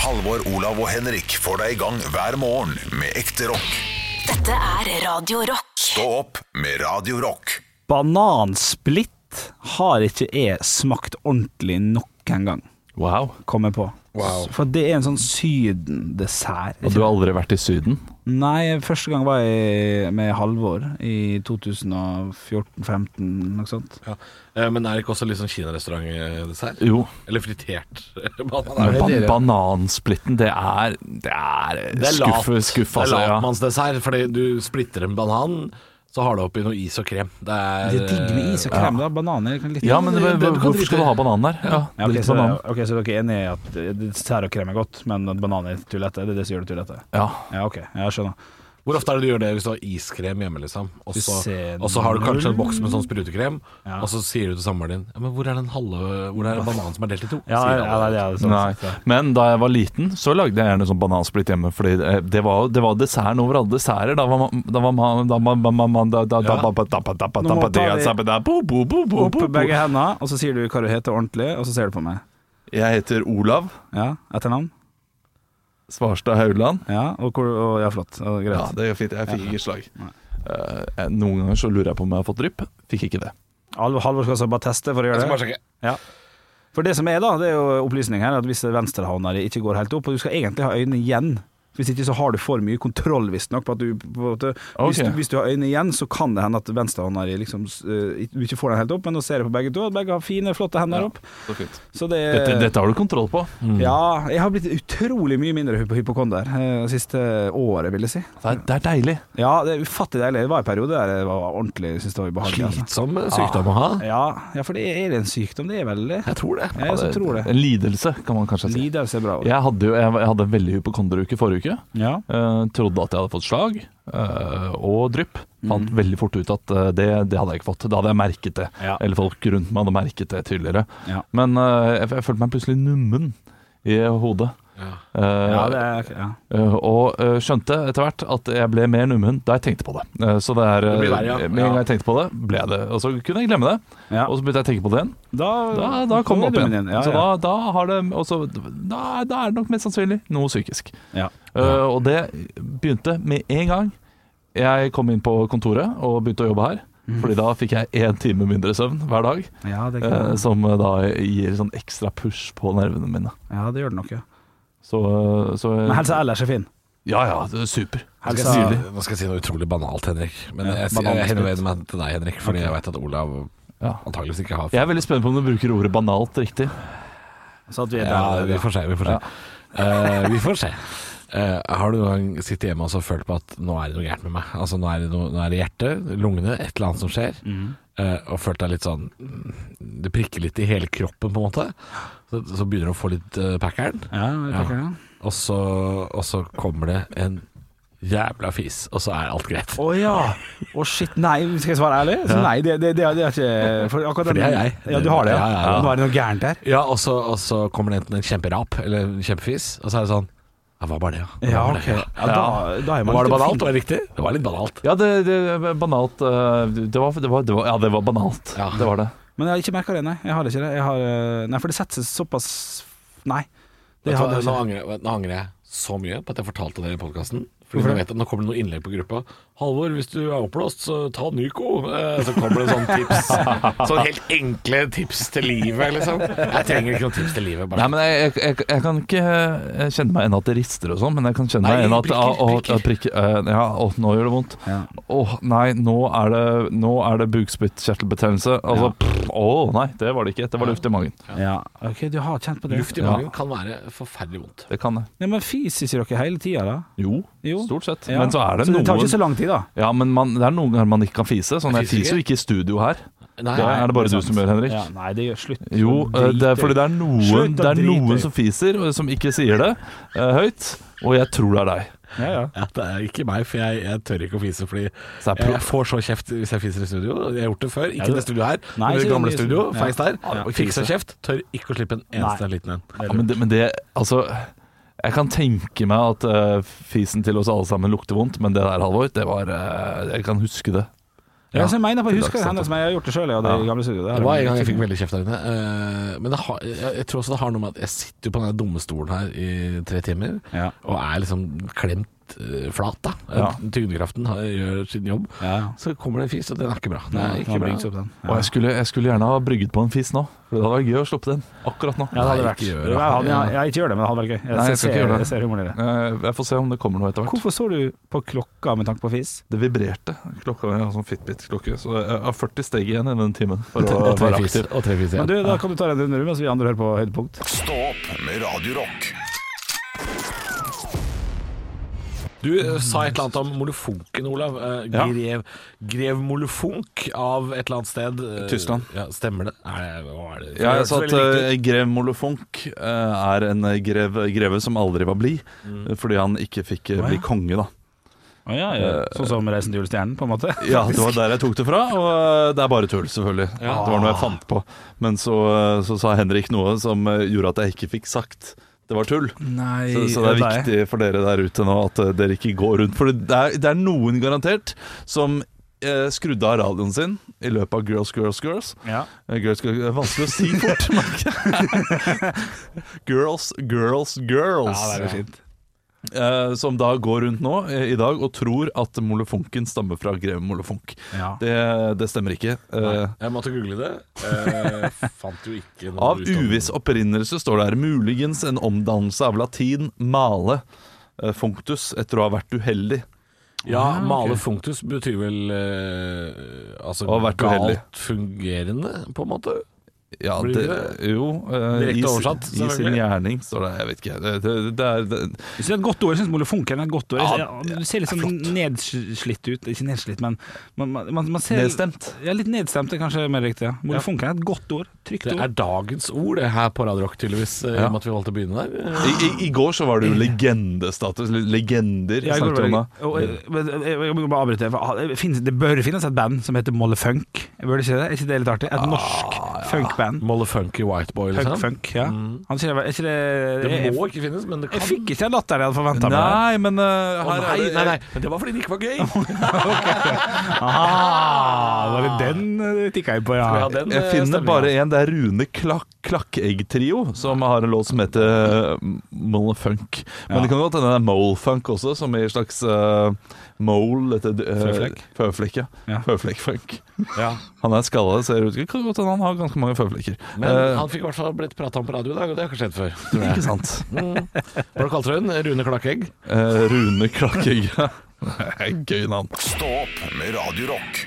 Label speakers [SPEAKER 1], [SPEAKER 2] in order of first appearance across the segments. [SPEAKER 1] Halvor, Olav og Henrik får deg i gang hver morgen med ekte rock.
[SPEAKER 2] Dette er Radio Rock.
[SPEAKER 1] Stå opp med Radio Rock.
[SPEAKER 3] Banansplitt har ikke jeg smakt ordentlig nok en gang,
[SPEAKER 4] Wow.
[SPEAKER 3] kommer jeg på. For det er en sånn sydendessert.
[SPEAKER 4] Og du har aldri vært i Syden?
[SPEAKER 3] Nei, første gang var jeg med Halvor i 2014-15, noe sånt.
[SPEAKER 5] Ja. Eh, Men er det ikke også litt sånn kinarestaurantdessert?
[SPEAKER 4] Jo.
[SPEAKER 5] Eller fritert banan?
[SPEAKER 4] Men ban banansplitten, det er Det er, skuffe, skuff,
[SPEAKER 5] det er
[SPEAKER 4] altså. Ja.
[SPEAKER 5] latmannsdessert, fordi du splitter en banan, så har du oppi noe is og krem. Det er,
[SPEAKER 3] Det er digg med is og krem, da. Bananer kan litt
[SPEAKER 4] ja, men
[SPEAKER 5] Det- det- du kan
[SPEAKER 4] hvorfor
[SPEAKER 5] drite
[SPEAKER 4] skal du
[SPEAKER 5] i.
[SPEAKER 4] ha banan der? Ja,
[SPEAKER 3] Ja, ok,
[SPEAKER 4] drit i
[SPEAKER 3] så,
[SPEAKER 4] banan.
[SPEAKER 3] ok, så dere er enige i at eh, dessert og krem er godt, men at bananer er tullete? Det er det som gjør det tullete?
[SPEAKER 4] Ja.
[SPEAKER 3] Ja, OK. Jeg skjønner.
[SPEAKER 5] eh, Hvor ofte er det du gjør det hvis du har iskrem hjemme, liksom? Og
[SPEAKER 3] Du
[SPEAKER 5] så,
[SPEAKER 3] ser
[SPEAKER 5] og så har du kanskje en boks med sånn sprutekrem,
[SPEAKER 3] Ja.
[SPEAKER 5] og så sier du til samboeren din ja, men 'Hvor er den halve Hvor er bananen som er delt i to?'
[SPEAKER 3] Ja,
[SPEAKER 5] sier
[SPEAKER 3] ja,
[SPEAKER 5] alle.
[SPEAKER 3] det er det sånn
[SPEAKER 4] Nei.
[SPEAKER 3] sett, ja.
[SPEAKER 4] Men da jeg var liten, så lagde jeg gjerne sånn banansplitt hjemme. Fordi eh, det var, det var desserten over alle desserter. Da var man Da var man Da var man- man- da- da- da-
[SPEAKER 5] Ja.
[SPEAKER 4] da- da- da- da- da- da-
[SPEAKER 3] Nå må ta
[SPEAKER 4] da-
[SPEAKER 3] de-
[SPEAKER 4] da- da- da- bo- bo- bo- bo-
[SPEAKER 3] Opp
[SPEAKER 4] bo-
[SPEAKER 3] med begge
[SPEAKER 4] bo.
[SPEAKER 3] hendene, og så sier du hva du heter ordentlig, og så ser du på meg.
[SPEAKER 4] Jeg heter Olav
[SPEAKER 3] Ja, Etternavn?
[SPEAKER 4] Svarstad Haugland.
[SPEAKER 3] Ja, og hvor, og, ja flott. Og, greit.
[SPEAKER 4] Ja, det går fint. Jeg fikk ikke slag. Eh, jeg- Noen ganger så lurer jeg på om jeg har fått drypp. Fikk ikke det.
[SPEAKER 3] Halvor Halvor skal altså bare teste for å
[SPEAKER 5] Jeg
[SPEAKER 3] gjøre
[SPEAKER 5] skal bare
[SPEAKER 3] det.
[SPEAKER 5] sjekke.
[SPEAKER 3] Ja. For det som er, da, det er jo opplysning her, at hvis venstrehånda di ikke går helt opp, og du skal egentlig ha øynene igjen hvis ikke så har du for mye kontroll, visstnok. På at du, på at du, hvis,
[SPEAKER 4] Ok.
[SPEAKER 3] du- hvis du har øynene igjen, så kan det hende at venstrehånda di liksom eh, Du ikke får den helt opp, men nå ser jeg på begge to, at begge har fine, flotte hender opp. Så Eh. Mm. det
[SPEAKER 4] Dette, dette mm. har du kontroll på.
[SPEAKER 3] Ja, jeg har blitt utrolig mye mindre hypo- hypokonder eh, siste året, vil jeg si.
[SPEAKER 4] Det er, det er deilig.
[SPEAKER 3] Ja, det er ufattelig deilig. Det var en periode der det var ordentlig synes det var ubehagelig. altså.
[SPEAKER 5] Slitsom sykdom å ha.
[SPEAKER 3] Ja, ja, for det er, er det en sykdom, det er vel det?
[SPEAKER 5] Jeg tror det.
[SPEAKER 3] Ja, jeg også tror det.
[SPEAKER 4] En lidelse, kan man kanskje si.
[SPEAKER 3] Lidelse er bra. også.
[SPEAKER 4] Jeg hadde, jo, jeg, jeg hadde en veldig hypokonderuke forrige uke.
[SPEAKER 3] Ja.
[SPEAKER 4] Eh, trodde at jeg hadde fått slag eh, og drypp. Fant veldig fort ut at eh, det, det hadde jeg ikke fått. Da hadde jeg merket det.
[SPEAKER 3] Mm. Ja.
[SPEAKER 4] Eller folk rundt meg hadde merket det tydeligere.
[SPEAKER 3] Ja.
[SPEAKER 4] Men eh, jeg, jeg følte meg plutselig nummen i hodet.
[SPEAKER 5] Ja.
[SPEAKER 4] Eh,
[SPEAKER 3] ja, det er ja.
[SPEAKER 4] eh, og eh, skjønte etter hvert at jeg ble mer nummen da jeg tenkte på det. Eh, så det er eh,
[SPEAKER 5] Det blir verre, ja.
[SPEAKER 4] Med en gang
[SPEAKER 5] Ja.
[SPEAKER 4] jeg tenkte på det, ble jeg det. Og så kunne jeg glemme det.
[SPEAKER 3] Ja.
[SPEAKER 4] Og så begynte jeg å tenke på det igjen.
[SPEAKER 3] Da,
[SPEAKER 4] Da, da kom det opp igjen.
[SPEAKER 3] Ja,
[SPEAKER 4] Så da,
[SPEAKER 3] ja.
[SPEAKER 4] da, har det, og så- da, da er det nok mest sannsynlig noe psykisk.
[SPEAKER 3] Ja.
[SPEAKER 4] Uh, og det begynte med en gang jeg kom inn på kontoret og begynte å jobbe her. Fordi da fikk jeg én time mindre søvn hver dag,
[SPEAKER 3] Ja, Mm. det
[SPEAKER 4] eh,
[SPEAKER 3] kan-
[SPEAKER 4] som da gir sånn ekstra push på nervene mine.
[SPEAKER 3] ja, det gjør det nok, ja.
[SPEAKER 4] Så, eh, så
[SPEAKER 3] Men helsa ellers er fin.
[SPEAKER 4] Ja ja, det er super.
[SPEAKER 5] Nå
[SPEAKER 3] Helsa,
[SPEAKER 5] skal, jeg si, nå skal jeg si noe utrolig banalt, Henrik. Men
[SPEAKER 3] altså- Ja,
[SPEAKER 5] jeg, sier- jeg
[SPEAKER 3] banalt.
[SPEAKER 5] henvender meg til deg, Henrik, fordi jeg vet at Olav
[SPEAKER 4] Ja.
[SPEAKER 5] antageligvis ikke har
[SPEAKER 4] Jeg er veldig spent på om du bruker ordet banalt riktig.
[SPEAKER 3] så at vi er
[SPEAKER 5] Ja,
[SPEAKER 3] der.
[SPEAKER 5] vi får se, vi får se. Eh, vi får se. Eh, har du noen gang sittet hjemme og så følt på at nå er det noe gærent med meg? Altså Nå er det, noe, nå er det hjertet, lungene, et eller annet som skjer.
[SPEAKER 3] Mm.
[SPEAKER 5] Eh, og følt deg litt sånn mm, Det prikker litt i hele kroppen, på en måte. Så, så begynner du å få litt uh, packeren,
[SPEAKER 3] Ja, vi tenker det.
[SPEAKER 5] og, så, og så kommer det en jævla fis, og så er alt greit.
[SPEAKER 3] Å ja! Å shit, nei, skal jeg svare ærlig? Så nei, det, det, det, er- det er ikke For akkurat
[SPEAKER 5] For det er jeg.
[SPEAKER 3] Ja, du har det? Ja,
[SPEAKER 5] Ja, ja, ja.
[SPEAKER 3] Nå er det noe gærent her.
[SPEAKER 5] Ja, og så, og så kommer det enten en kjemperap eller en kjempefis, og så er det sånn Ja, hva var det, ja?
[SPEAKER 3] Ja,
[SPEAKER 5] Hva var
[SPEAKER 3] ok.
[SPEAKER 5] det, ja?
[SPEAKER 3] Ja, da, da er man
[SPEAKER 5] Var det
[SPEAKER 3] litt
[SPEAKER 5] banalt?
[SPEAKER 3] fin.
[SPEAKER 5] Var det riktig? Det var litt banalt.
[SPEAKER 4] Ja, det, det var banalt eh, det var, det var, det var, Ja, det var banalt.
[SPEAKER 5] Ja.
[SPEAKER 4] Det var det.
[SPEAKER 3] Men jeg har ikke merka det, nei. Jeg har ikke det. Jeg har, eh, nei, for det setter seg såpass Nei. Det
[SPEAKER 5] Vet du
[SPEAKER 3] hadde
[SPEAKER 5] hva,
[SPEAKER 3] jeg
[SPEAKER 5] nå,
[SPEAKER 3] ikke.
[SPEAKER 5] angrer, jeg- nå angrer jeg så mye på at jeg fortalte det i podkasten.
[SPEAKER 3] Hvorfor
[SPEAKER 5] Fordi nå
[SPEAKER 3] det?
[SPEAKER 5] vet jeg at nå kommer det noen innlegg på gruppa. 'Halvor, hvis du er oppblåst, så ta Nyco.' Eh, Så kommer det sånne tips. Sånne helt enkle tips til livet, liksom. Jeg trenger ikke noen tips til livet. Bare.
[SPEAKER 4] Nei, men jeg, jeg, jeg, jeg kan ikke eh, kjenne meg igjen at det rister og sånn, men jeg kan kjenne
[SPEAKER 5] Nei,
[SPEAKER 4] meg igjen at
[SPEAKER 5] prikker,
[SPEAKER 4] ah, å,
[SPEAKER 5] prikker.
[SPEAKER 4] ah, prikker, eh, Ja, å, nå gjør det vondt. Åh,
[SPEAKER 3] Ja.
[SPEAKER 4] nei, nå er det, nå er det bukspyttkjertelbetennelse. Altså, pff, å nei, det var det ikke. Det var luft i magen.
[SPEAKER 3] Ja, ok, du har kjent på det.
[SPEAKER 5] Luft i magen kan være forferdelig vondt.
[SPEAKER 4] Det kan jeg.
[SPEAKER 3] Nei, men fiser ikke dere hele tida, da?
[SPEAKER 4] Jo,
[SPEAKER 3] Jo.
[SPEAKER 4] stort sett.
[SPEAKER 3] Ja.
[SPEAKER 4] Men så er det
[SPEAKER 3] Så det tar
[SPEAKER 4] noen
[SPEAKER 3] ikke så lang tid, da.
[SPEAKER 4] Ja, men man, det er noen ganger man ikke kan fise. Sånn,
[SPEAKER 5] Jeg
[SPEAKER 4] jeg
[SPEAKER 5] fiser
[SPEAKER 4] fiser jo ikke i studio her.
[SPEAKER 5] Nei,
[SPEAKER 4] Det er det bare
[SPEAKER 3] det er
[SPEAKER 4] du
[SPEAKER 3] sant.
[SPEAKER 4] som gjør, Henrik.
[SPEAKER 3] Ja, nei, det gjør slutt.
[SPEAKER 4] Jo, eh, det er fordi det er noen,
[SPEAKER 3] Slutt å
[SPEAKER 4] det er
[SPEAKER 3] drite i.
[SPEAKER 4] noen som fiser, og som ikke sier det eh, høyt. Og jeg tror det er deg.
[SPEAKER 3] Ja, ja.
[SPEAKER 5] ja, det er ikke meg, for jeg, jeg tør ikke å fise. Fordi
[SPEAKER 4] Så det er
[SPEAKER 5] jeg,
[SPEAKER 4] pro-
[SPEAKER 5] jeg får så kjeft hvis jeg fiser i studio. Jeg har gjort det før. Ikke
[SPEAKER 3] det-
[SPEAKER 5] det studio her,
[SPEAKER 3] Nei,
[SPEAKER 5] men
[SPEAKER 3] ikke
[SPEAKER 5] det gamle
[SPEAKER 3] det nye
[SPEAKER 5] studio.
[SPEAKER 3] studio.
[SPEAKER 5] Feis der.
[SPEAKER 4] Ja,
[SPEAKER 5] Fikk så kjeft. Tør ikke å slippe en eneste
[SPEAKER 3] Nei.
[SPEAKER 5] liten en.
[SPEAKER 4] Ja, men det, men det Altså, jeg kan tenke meg at eh, fisen til oss alle sammen lukter vondt, men det der, Halvor, det var eh, Jeg kan huske det.
[SPEAKER 3] Ja, så jeg mener på, jeg
[SPEAKER 4] Til
[SPEAKER 3] husker
[SPEAKER 4] dags
[SPEAKER 3] henne som jeg har gjort det sjøl, jeg hadde i gamle studio.
[SPEAKER 5] Det var en gang jeg fikk veldig kjeft der inne. eh, Men det har, jeg jeg tror også det har noe med at jeg sitter jo på den der dumme stolen her i tre timer,
[SPEAKER 3] Ja.
[SPEAKER 5] og er liksom klemt eh, flat, da.
[SPEAKER 3] Ja.
[SPEAKER 5] Tyngdekraften har- gjør sin jobb.
[SPEAKER 3] Ja, ja.
[SPEAKER 5] Så kommer det en fis, og den er ikke bra.
[SPEAKER 3] Nei,
[SPEAKER 5] Den er
[SPEAKER 3] den
[SPEAKER 5] ikke
[SPEAKER 3] har
[SPEAKER 5] bra.
[SPEAKER 3] bygd seg opp, den.
[SPEAKER 4] Og jeg skulle, jeg skulle gjerne ha brygget på en fis nå, for det hadde vært gøy å slippe den akkurat nå.
[SPEAKER 3] Ja, det hadde
[SPEAKER 5] Nei,
[SPEAKER 3] vært jeg,
[SPEAKER 5] ikke gjør det.
[SPEAKER 3] hadde, jeg, jeg ikke gjør det, men det hadde vært gøy. Jeg,
[SPEAKER 4] Nei, jeg skal
[SPEAKER 3] ser,
[SPEAKER 4] ikke gjøre det.
[SPEAKER 3] jeg ser humoren i det.
[SPEAKER 4] Eh, Jeg får se om det kommer noe etter hvert.
[SPEAKER 3] Hvorfor så du på klokka med tanke på fis?
[SPEAKER 4] Det vibrerte. Klokka mi har sånn Fitbit-klokke, så jeg har 40 steg igjen i den timen for å
[SPEAKER 5] Og tre
[SPEAKER 4] være
[SPEAKER 5] fis,
[SPEAKER 4] aktiv.
[SPEAKER 5] og tre fis
[SPEAKER 3] Men
[SPEAKER 5] igjen.
[SPEAKER 3] du, da kan du ta deg en runde mens vi andre hører på høydepunkt.
[SPEAKER 1] Stå opp med Radio Rock.
[SPEAKER 5] Du eh, sa et eller annet om molefonken, Olav. Eh,
[SPEAKER 4] Ja.
[SPEAKER 5] Grev, grev molefonk av et eller annet sted. eh,
[SPEAKER 4] Tyskland.
[SPEAKER 5] Ja, stemmer det? Er det, hva er det?
[SPEAKER 4] Ja, jeg
[SPEAKER 5] Det
[SPEAKER 4] sa
[SPEAKER 5] hørtes
[SPEAKER 4] at
[SPEAKER 5] veldig riktig ut.
[SPEAKER 4] eh, grev Molofonk eh, er en eh, grev, greve som aldri var blid, eh, fordi han ikke fikk eh, bli konge, da.
[SPEAKER 3] Sånn som Reisen til julestjernen, på en måte.
[SPEAKER 4] Ja, det var der jeg tok det fra, og eh, det er bare tull, selvfølgelig. Det var noe jeg fant på. Men så, eh, så sa Henrik noe som eh, gjorde at jeg ikke fikk sagt det var tull.
[SPEAKER 3] Nei,
[SPEAKER 4] Så, så det er viktig for dere der ute nå at eh, dere ikke går rundt. For det er, det er noen garantert som eh, skrudde av radioen sin i løpet av Girls, Girls, Girls.
[SPEAKER 3] Ja.
[SPEAKER 4] Eh, Girls, girls det er vanskelig å si fort, merker jeg. Girls, girls, girls.
[SPEAKER 3] det er jo fint.
[SPEAKER 4] Eh, som da går rundt nå eh, i dag og tror at molefonken stammer fra grev Molefonk.
[SPEAKER 3] Ja.
[SPEAKER 4] Det, det stemmer ikke. Eh,
[SPEAKER 5] Jeg måtte google det. Eh, fant jo ikke noe
[SPEAKER 4] Av
[SPEAKER 5] ut om-
[SPEAKER 4] uviss opprinnelse står det her muligens en omdannelse av latin male eh, functus etter å ha vært uheldig.
[SPEAKER 5] Ja, male functus betyr vel eh, altså
[SPEAKER 4] Og vært
[SPEAKER 5] galt
[SPEAKER 4] uheldig.
[SPEAKER 5] fungerende, på en måte.
[SPEAKER 4] Ja,
[SPEAKER 5] Blir
[SPEAKER 4] det,
[SPEAKER 5] det
[SPEAKER 4] jo eh,
[SPEAKER 5] Direkte
[SPEAKER 4] i, sin-
[SPEAKER 5] oversatt,
[SPEAKER 4] I sin
[SPEAKER 5] selvfølgelig.
[SPEAKER 4] gjerning står det Jeg vet ikke. Det, det, det er, det,
[SPEAKER 3] Jeg synes det er et godt ord. Jeg synes molefonken er et godt ord. Jeg-
[SPEAKER 4] Ja,
[SPEAKER 3] jeg- du ser litt sånn nedslitt ut. Ikke nedslitt, men man, man, man, man ser
[SPEAKER 4] nedstemt.
[SPEAKER 3] Ja, litt nedstemt er kanskje mer riktig. ja. Molefonken er et godt ord. Trygt
[SPEAKER 5] Det
[SPEAKER 3] ord.
[SPEAKER 5] er dagens ord det her på Radio Rock, tydeligvis, eh, i
[SPEAKER 4] Ja.
[SPEAKER 5] og med at vi valgte å begynne der. Eh,
[SPEAKER 4] I, i, I går så var det jo legendestatus. le- Legender
[SPEAKER 3] Ja, jeg går
[SPEAKER 4] snakket vi om da.
[SPEAKER 3] bare- og, eh, men, eh, jeg må bare avbryte. for, ah, det finnes- Det bør finnes et band som heter Mollefunk. Bør det ikke det? Er ikke det litt artig? Et norsk funkband.
[SPEAKER 5] Molle funky white boy,
[SPEAKER 3] Punk
[SPEAKER 5] liksom.
[SPEAKER 3] funk, ja. Han sier, er ikke det,
[SPEAKER 5] Det
[SPEAKER 3] jeg,
[SPEAKER 5] må ikke finnes, men det kan
[SPEAKER 3] jeg fikk ikke den latteren jeg hadde forventa meg.
[SPEAKER 4] Nei, men eh,
[SPEAKER 5] Å,
[SPEAKER 4] her er
[SPEAKER 5] nei,
[SPEAKER 4] det
[SPEAKER 5] nei, nei, men det var fordi det ikke var gøy.
[SPEAKER 3] Ah, var det den eh, tikka jeg på, ja.
[SPEAKER 5] den,
[SPEAKER 4] Jeg
[SPEAKER 5] eh,
[SPEAKER 4] finner
[SPEAKER 5] stemningen.
[SPEAKER 4] bare en. Det er Rune Klak Klakkegg-trio som har en låt som heter uh, Mole Funk. Men
[SPEAKER 3] Ja.
[SPEAKER 4] det kan godt hende det er Mole Funk også, som i en slags uh, mole etter, eh,
[SPEAKER 3] Føflekk?
[SPEAKER 4] Føflekk, ja.
[SPEAKER 3] Ja.
[SPEAKER 4] Føflekk-funk.
[SPEAKER 5] Ja.
[SPEAKER 4] Han er skalla, ser ut Det kan godt hende han har ganske mange føflekker.
[SPEAKER 5] Men
[SPEAKER 4] Eh,
[SPEAKER 5] han fikk i hvert fall blitt prata om på radio i dag, og det har ikke skjedd før. Tror jeg.
[SPEAKER 4] ikke sant.
[SPEAKER 5] Mm. Hva kalte du den? Rune Klakegg?
[SPEAKER 4] Eh, Rune Klakkegg. Gøy navn.
[SPEAKER 1] Stå opp med Radio Rock.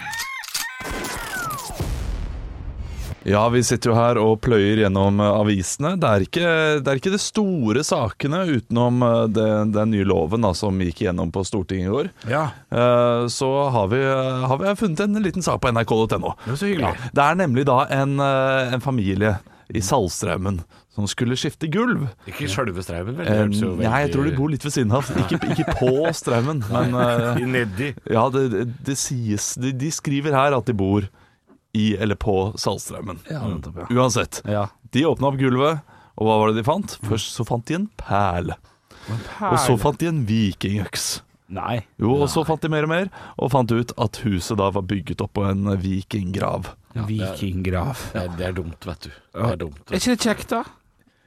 [SPEAKER 4] Ja, vi sitter jo her og pløyer gjennom eh, avisene. Det er ikke, det er ikke de store sakene utenom eh, det- den nye loven da, som gikk gjennom på Stortinget i går.
[SPEAKER 3] Ja.
[SPEAKER 4] Eh, Så har vi, eh, har vi funnet en liten sak på nrk.no.
[SPEAKER 5] var så hyggelig.
[SPEAKER 4] Ja, det er nemlig da en, eh, en familie i Salstraumen som skulle skifte gulv.
[SPEAKER 5] Ikke sjølve Straumen, vel? Det
[SPEAKER 4] Eh,
[SPEAKER 5] hørtes jo
[SPEAKER 4] Nei, jeg
[SPEAKER 5] veldig-
[SPEAKER 4] tror de bor litt ved siden av. Ikke, ikke på Straumen, men eh,
[SPEAKER 5] I Nedi.
[SPEAKER 4] ja, det, det, det sies de, de skriver her at de bor i eller på Salstraumen. Uansett.
[SPEAKER 3] Ja.
[SPEAKER 4] De åpna opp gulvet, og hva var det de fant?
[SPEAKER 3] Mm.
[SPEAKER 4] Først så fant de en perle. Og så fant de en vikingøks.
[SPEAKER 3] Nei.
[SPEAKER 4] Jo, og så fant de mer og mer, og fant ut at huset da var bygget opp på en vikinggrav.
[SPEAKER 3] Vikinggrav.
[SPEAKER 5] Det, er- det er dumt, vet du. Det er dumt.
[SPEAKER 3] Er ikke det kjekt, da?